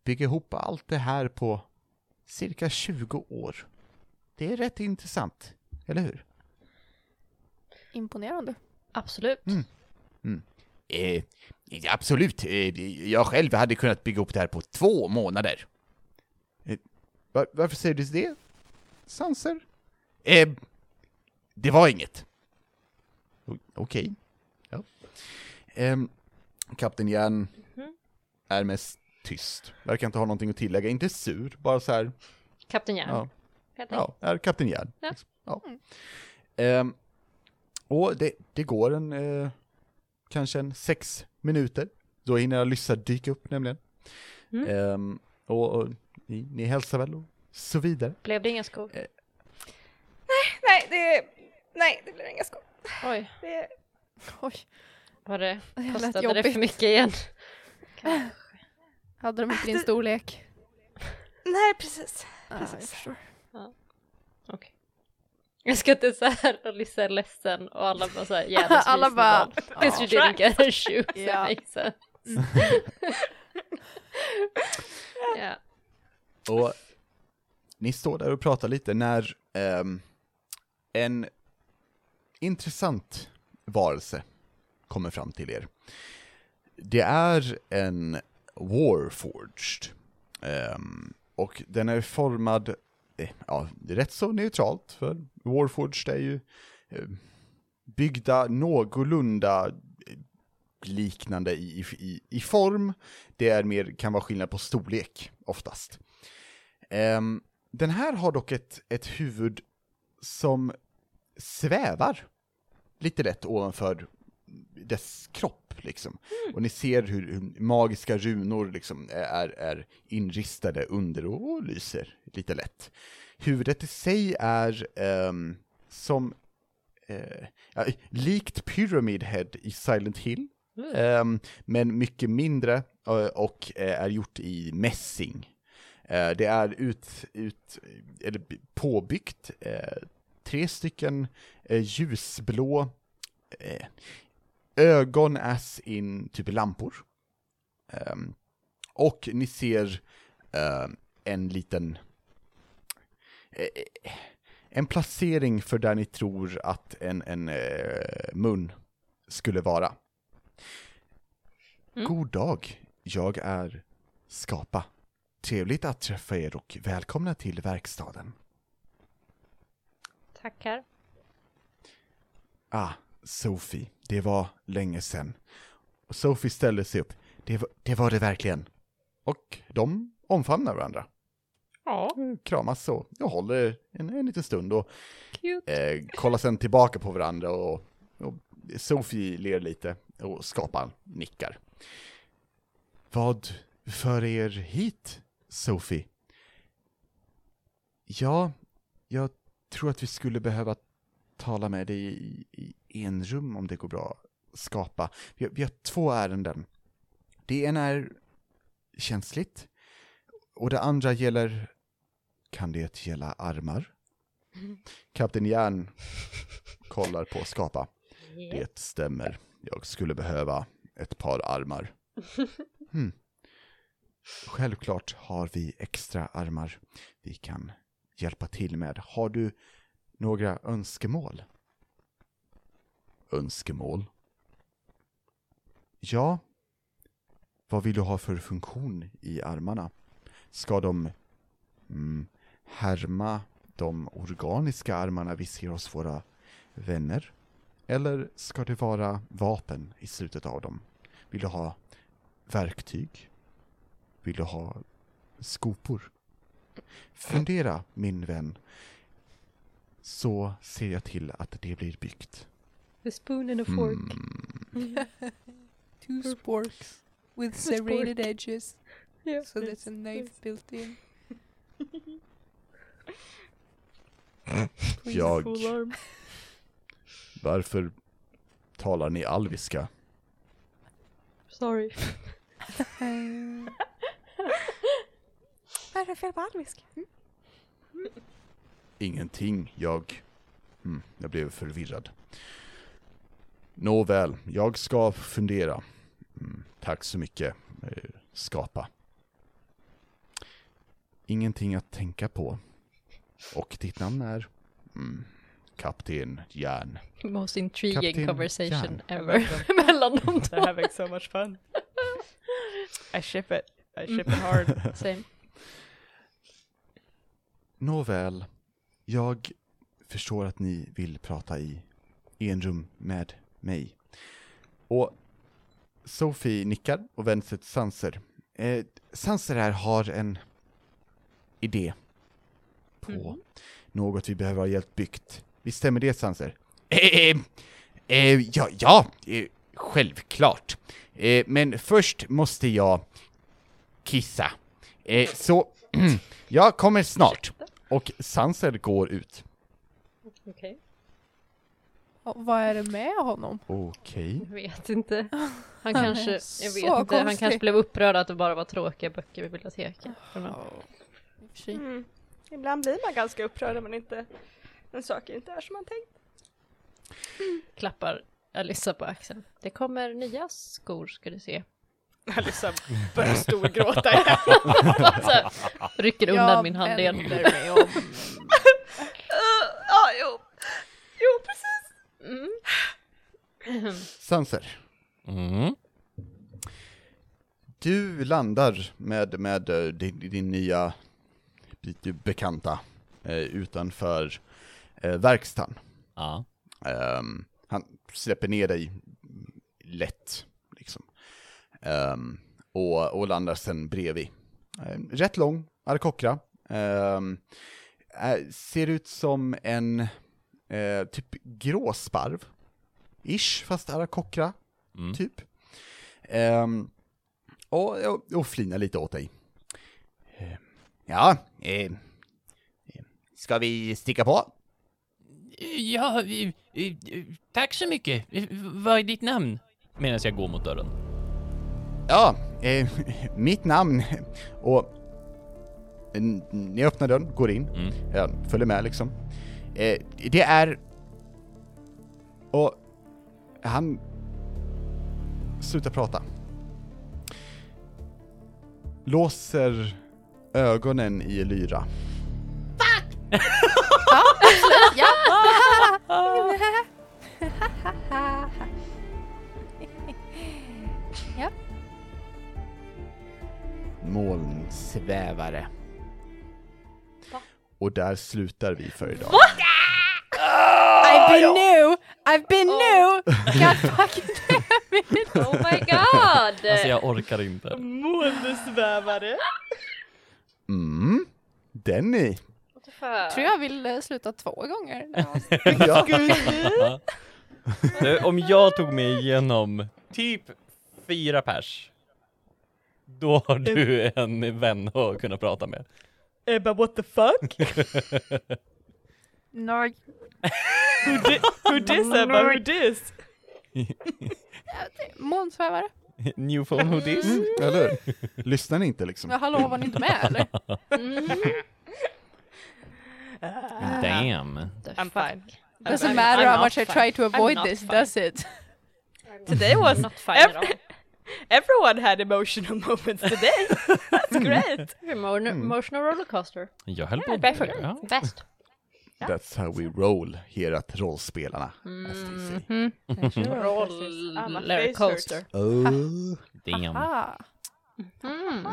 [SPEAKER 2] bygga ihop allt det här på cirka 20 år. Det är rätt intressant, eller hur?
[SPEAKER 3] Imponerande. <laughs>
[SPEAKER 5] Absolut.
[SPEAKER 8] Eh, absolut, eh, jag själv hade kunnat bygga upp det här på två månader.
[SPEAKER 2] Eh, Var, varför säger du det, Sanser?
[SPEAKER 8] Eh, det var inget.
[SPEAKER 2] O- Okej. Ja. Ehm, Kapten Järn
[SPEAKER 5] Mhm.
[SPEAKER 2] är mest tyst. Verkar inte ha någonting att tillägga. Inte sur, bara så här.
[SPEAKER 5] Kapten Järn.
[SPEAKER 2] Ja,
[SPEAKER 5] helt enkelt.
[SPEAKER 2] ja är Kapten Järn.
[SPEAKER 5] Ja. Mm.
[SPEAKER 2] liksom. Ja. Ehm, och det, det går en, eh, kanske en sex minuter. Då hinner Alyssa dyka upp nämligen. Ehm, och, och ni, ni hälsar väl och så vidare.
[SPEAKER 5] Blev det inga skor?
[SPEAKER 9] Nej, det, nej, det blir inga skor.
[SPEAKER 5] Oj,
[SPEAKER 9] Det,
[SPEAKER 3] Oj,
[SPEAKER 4] <laughs>
[SPEAKER 5] var det,
[SPEAKER 3] det lät
[SPEAKER 5] kostade det
[SPEAKER 3] jobbigt.
[SPEAKER 5] för mycket igen?
[SPEAKER 3] hade de
[SPEAKER 5] <laughs>
[SPEAKER 3] inte din storlek?
[SPEAKER 9] nej, precis.
[SPEAKER 3] Ah, jag förstår.
[SPEAKER 5] Okej. Jag ska inte <laughs> såhär, Alyssa är ledsen och alla bara såhär jävligt
[SPEAKER 3] <laughs> Alla bara...
[SPEAKER 5] Because you didn't get <laughs> her shoes,
[SPEAKER 3] Ja.
[SPEAKER 5] that makes <laughs> sense. ja.
[SPEAKER 2] Och ni står där och pratar lite när ehm, en intressant varelse kommer fram till er. Det är en Warforged. ehm, och den är formad, eh, ja, det är rätt så neutralt, för Warforged är ju eh, byggda någorlunda eh, liknande i, i- i, i form. Det är mer, kan vara skillnad på storlek oftast. Ehm, den här har dock ett, ett huvud som svävar lite lätt ovanför dess kropp, liksom. Och ni ser hur, hur magiska runor liksom är, är inristade under och, och lyser lite lätt. Huvudet i sig är ehm, som eh, ja, likt Pyramid Head i Silent Hill, ehm, men mycket mindre eh, och eh, är gjort i mässing. Eh, Det är ut, ut, eller b- påbyggt eh, tre stycken eh, ljusblå eh, ögon as in typ lampor. Ehm, och ni ser eh, en liten eh, en placering för där ni tror att en, en eh, mun skulle vara. God dag, jag är Skapa. Trevligt att träffa er och välkomna till verkstaden.
[SPEAKER 4] <laughs>
[SPEAKER 5] Tackar.
[SPEAKER 2] Ah, Sophie, det var länge sedan. Och Sophie ställer sig upp. Det var det, var det verkligen. Och de omfamnar varandra.
[SPEAKER 5] Ja.
[SPEAKER 2] Eh, Kramas och jag håller en, en liten stund och eh, kollar sen tillbaka på varandra och, och Sophie ler lite och skapar nickar. Vad för er hit, Sophie? Ja, jag tror att vi skulle behöva tala med dig i, i enrum om det går bra. Skapa. Vi har, vi har två ärenden. Det ena är känsligt och det andra gäller... Kan det gälla armar? Kapten Järn kollar på Skapa. Det stämmer. Jag skulle behöva ett par armar. Hmm. Självklart har vi extra armar vi kan hjälpa till med. Har du några önskemål? Önskemål? Ja. Vad vill du ha för funktion i armarna? Ska de mm, härma de organiska armarna vi ser hos våra vänner? Eller ska det vara vapen i slutet av dem? Vill du ha verktyg? Vill du ha skopor? Fundera, min vän. så ser jag till att det blir byggt.
[SPEAKER 5] The spoon and a fork.
[SPEAKER 2] Mm.
[SPEAKER 11] Two sporks with serrated edges.
[SPEAKER 5] Yeah.
[SPEAKER 11] So there's a knife built in.
[SPEAKER 2] Jag... Varför talar ni alviska?
[SPEAKER 5] Sorry.
[SPEAKER 9] Vad är det fel på alvisk?
[SPEAKER 2] Ingenting, jag... Mm, jag blev förvirrad. Nåväl, jag ska fundera. Mm, tack så mycket, eh, Skapa. Ingenting att tänka på. Och ditt namn är? Mm, Kapten Järn.
[SPEAKER 5] Most intriguing
[SPEAKER 2] Kapten
[SPEAKER 5] conversation
[SPEAKER 2] Jan.
[SPEAKER 5] ever <laughs> mellan dem
[SPEAKER 4] They're
[SPEAKER 5] två.
[SPEAKER 4] having so much
[SPEAKER 5] <laughs>
[SPEAKER 4] fun. I ship it. I ship it hard.
[SPEAKER 5] Mm. <laughs> Same.
[SPEAKER 2] Nåväl, jag förstår att ni vill prata i enrum med mig. Och Sophie nickar och vänder sig till Sanser. Eh, Sanser här har en idé på något vi behöver ha hjälp byggt. Visst stämmer det Sanser?
[SPEAKER 8] Eh, eh, ja, ja eh, självklart. Eh, men först måste jag kissa. Eh,
[SPEAKER 2] <clears throat>
[SPEAKER 8] så jag kommer snart.
[SPEAKER 2] Och Sanser går ut.
[SPEAKER 5] Okej,
[SPEAKER 3] Och vad är det med honom?
[SPEAKER 2] Okej.
[SPEAKER 5] jag vet inte. <laughs> Han kanske, jag vet
[SPEAKER 3] så
[SPEAKER 5] inte, han
[SPEAKER 3] konstig.
[SPEAKER 5] kanske blev upprörd att det bara var tråkiga böcker i biblioteket.
[SPEAKER 9] Mm. Ibland blir man ganska upprörd om man inte, en sak inte är som man tänkt.
[SPEAKER 5] Klappar Alissa på axeln. Det kommer nya skor ska
[SPEAKER 2] <laughs>
[SPEAKER 5] du se. <laughs>
[SPEAKER 4] Alissa börjar storgråta igen.
[SPEAKER 5] Alltså, rycker undan min hand igen.
[SPEAKER 3] vänder mig om.
[SPEAKER 9] Uh, ja, jo. Jo, precis.
[SPEAKER 2] Sanser,
[SPEAKER 6] Mm.
[SPEAKER 2] du landar med, med eh, din, din nya lite bekanta eh, utanför eh, verkstaden.
[SPEAKER 6] Ja.
[SPEAKER 2] Ehm, han släpper ner dig lätt, liksom. Ehm, och, och landar sen bredvid. Ehm, rätt lång, arkokra. Ehm, eh, ser ut som en eh, typ gråsparv. Ish, fast arkokra,
[SPEAKER 6] Mm.
[SPEAKER 2] typ. Ehm, och, och, och flinar lite åt dig. Ehm,
[SPEAKER 8] Ja, eh, eh, ska vi sticka på?
[SPEAKER 10] Ja, eh, eh, tack så mycket. Eh, Vad är ditt namn? Eh.
[SPEAKER 6] Medan jag går mot dörren.
[SPEAKER 2] Ja, eh, <laughs> mitt namn <laughs> och... n- Ni öppnar dörren, går in,
[SPEAKER 6] Mm.
[SPEAKER 2] ja, följer med liksom. Eh, det är... Och han... Slutar prata. Låser ögonen i lyra. Molnsvävare. Och där slutar vi för idag.
[SPEAKER 11] Ah,
[SPEAKER 3] I've been new! I've
[SPEAKER 5] <laughs>
[SPEAKER 3] been new! God fucking damn it!
[SPEAKER 5] Oh my <laughs> god!
[SPEAKER 6] Alltså jag orkar inte.
[SPEAKER 4] Molnesvävare.
[SPEAKER 2] Mm. Denny.
[SPEAKER 5] Fan.
[SPEAKER 3] tror jag vill eh, sluta två gånger.
[SPEAKER 11] <laughs>
[SPEAKER 3] Det var-
[SPEAKER 2] Ja.
[SPEAKER 1] Du, om jag tog mig igenom typ fyra pers,
[SPEAKER 6] Då har du en vän att kunna prata med.
[SPEAKER 4] Ebba, what the fuck?
[SPEAKER 3] Norg.
[SPEAKER 4] Who, di- who dis Ebba? Who dis?
[SPEAKER 3] Månsvävare.
[SPEAKER 6] New phone hoodies.
[SPEAKER 2] Mm, Eller hur? Lyssnar ni inte liksom?
[SPEAKER 3] Men hallå, var ni inte med
[SPEAKER 5] <laughs>
[SPEAKER 3] eller?
[SPEAKER 10] Ah.
[SPEAKER 6] Damn.
[SPEAKER 5] Alltså,
[SPEAKER 4] I'm fine.
[SPEAKER 3] Doesn't matter how
[SPEAKER 5] not
[SPEAKER 3] much I
[SPEAKER 5] fine.
[SPEAKER 3] try to avoid
[SPEAKER 5] not
[SPEAKER 3] this,
[SPEAKER 5] fine.
[SPEAKER 3] does it?
[SPEAKER 4] Today was...
[SPEAKER 5] Not fine at all.
[SPEAKER 4] Every- everyone had emotional <laughs> moments today. That's great.
[SPEAKER 5] Emo- Emotional rollercoaster.
[SPEAKER 6] Jag höll på
[SPEAKER 5] Bäst.
[SPEAKER 6] ja.
[SPEAKER 5] Bäst.
[SPEAKER 2] That's how we roll here at Rollspelarna.
[SPEAKER 4] Mm.
[SPEAKER 2] as they say.
[SPEAKER 4] I'm a face
[SPEAKER 5] Rollercoaster.
[SPEAKER 6] Damn.
[SPEAKER 3] Ah.
[SPEAKER 5] Mm.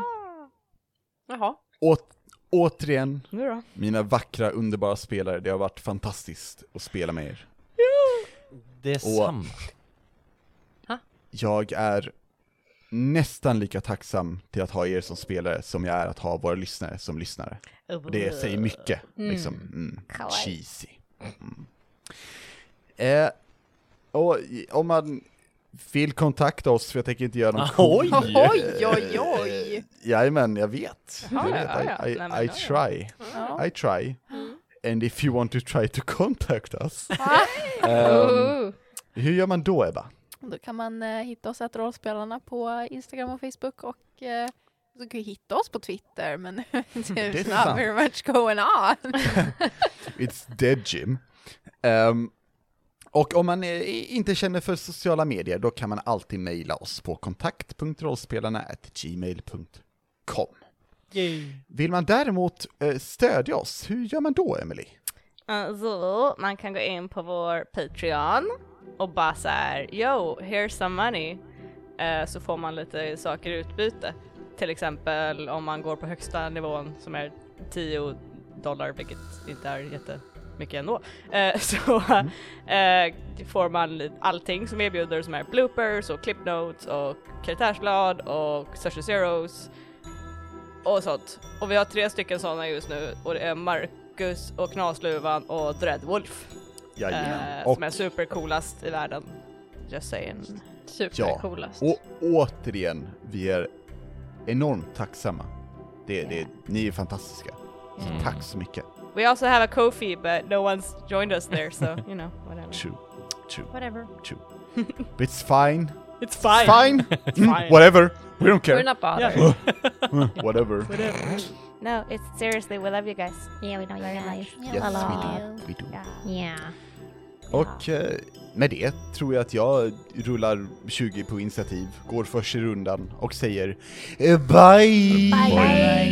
[SPEAKER 4] Jaha.
[SPEAKER 2] Åt, återigen,
[SPEAKER 4] Nu då?
[SPEAKER 2] mina vackra, underbara spelare, det har varit fantastiskt att spela med er.
[SPEAKER 6] Detsamma.
[SPEAKER 2] Jag är nästan lika tacksam till att ha er som spelare som jag är att ha våra lyssnare som lyssnare. Och Det säger mycket, liksom. Mm. Cheesy. Eh, och i- om man vill kontakta oss, för jag tänker inte göra någon <laughs>
[SPEAKER 1] Oj!
[SPEAKER 11] Oj, oj, oj.
[SPEAKER 2] Eh, jajamän, jag vet.
[SPEAKER 11] Jaha,
[SPEAKER 2] jag vet.
[SPEAKER 11] ja, ja.
[SPEAKER 2] I, I,
[SPEAKER 11] Nej, men
[SPEAKER 2] I
[SPEAKER 11] då ja.
[SPEAKER 2] try.
[SPEAKER 11] Ja.
[SPEAKER 2] I try. And if you want to try to contact
[SPEAKER 11] <laughs>
[SPEAKER 2] us.
[SPEAKER 3] Oh.
[SPEAKER 2] ehm, hur gör man då Ebba?
[SPEAKER 3] Då kan man eh, hitta oss att rollspelarna på Instagram och Facebook och eh, så kan ju hitta oss på Twitter men <laughs>
[SPEAKER 2] är
[SPEAKER 3] there's not
[SPEAKER 2] sant.
[SPEAKER 3] very much going on.
[SPEAKER 2] It's dead Jim. Ehm, och om man eh, inte känner för sociala medier, då kan man alltid mejla oss på kontakt.rollspelarna.gmail.com. Vill man däremot eh, stödja oss, hur gör man då, Emily?
[SPEAKER 11] Eh,
[SPEAKER 4] Uh, så man kan gå in på vår Patreon och bara så här, yo, here's some money. Eh, så får man lite saker i utbyte. Till exempel om man går på högsta nivån som är 10 dollar, vilket inte är jättemycket ändå. Eh, <laughs> så eh, får man lite allting som erbjuder som är bloopers och clip notes och karaktärsblad och social zeros och sånt. Och vi har tre stycken sådana just nu och det är Marcus och Knasluvan och Dreadwolf.
[SPEAKER 2] Jajamän.
[SPEAKER 4] Eh,
[SPEAKER 2] Och-
[SPEAKER 4] Som är supercoolast i världen. Just saying.
[SPEAKER 5] Supercoolast.
[SPEAKER 2] och återigen, vi är enormt tacksamma. Det, det, ni är fantastiska. Så
[SPEAKER 4] Mm.
[SPEAKER 2] Tack så mycket.
[SPEAKER 4] We also have a Kofi but no one's joined us there so you know whatever.
[SPEAKER 2] True, true,
[SPEAKER 5] Whatever.
[SPEAKER 2] true. But it's fine.
[SPEAKER 4] It's fine.
[SPEAKER 2] Fine.
[SPEAKER 4] It's
[SPEAKER 2] Mm,
[SPEAKER 4] fine.
[SPEAKER 2] Whatever. We don't care.
[SPEAKER 5] We're not bothered.
[SPEAKER 2] Mm, <laughs> Whatever.
[SPEAKER 9] No, it's seriously, we love you guys. Yeah, we know Very you guys.
[SPEAKER 2] Yes, we do. We do.
[SPEAKER 9] Yeah.
[SPEAKER 2] Och eh, med det tror jag att jag rullar 20 på initiativ, går först i rundan och säger eh, bye!
[SPEAKER 9] Bye.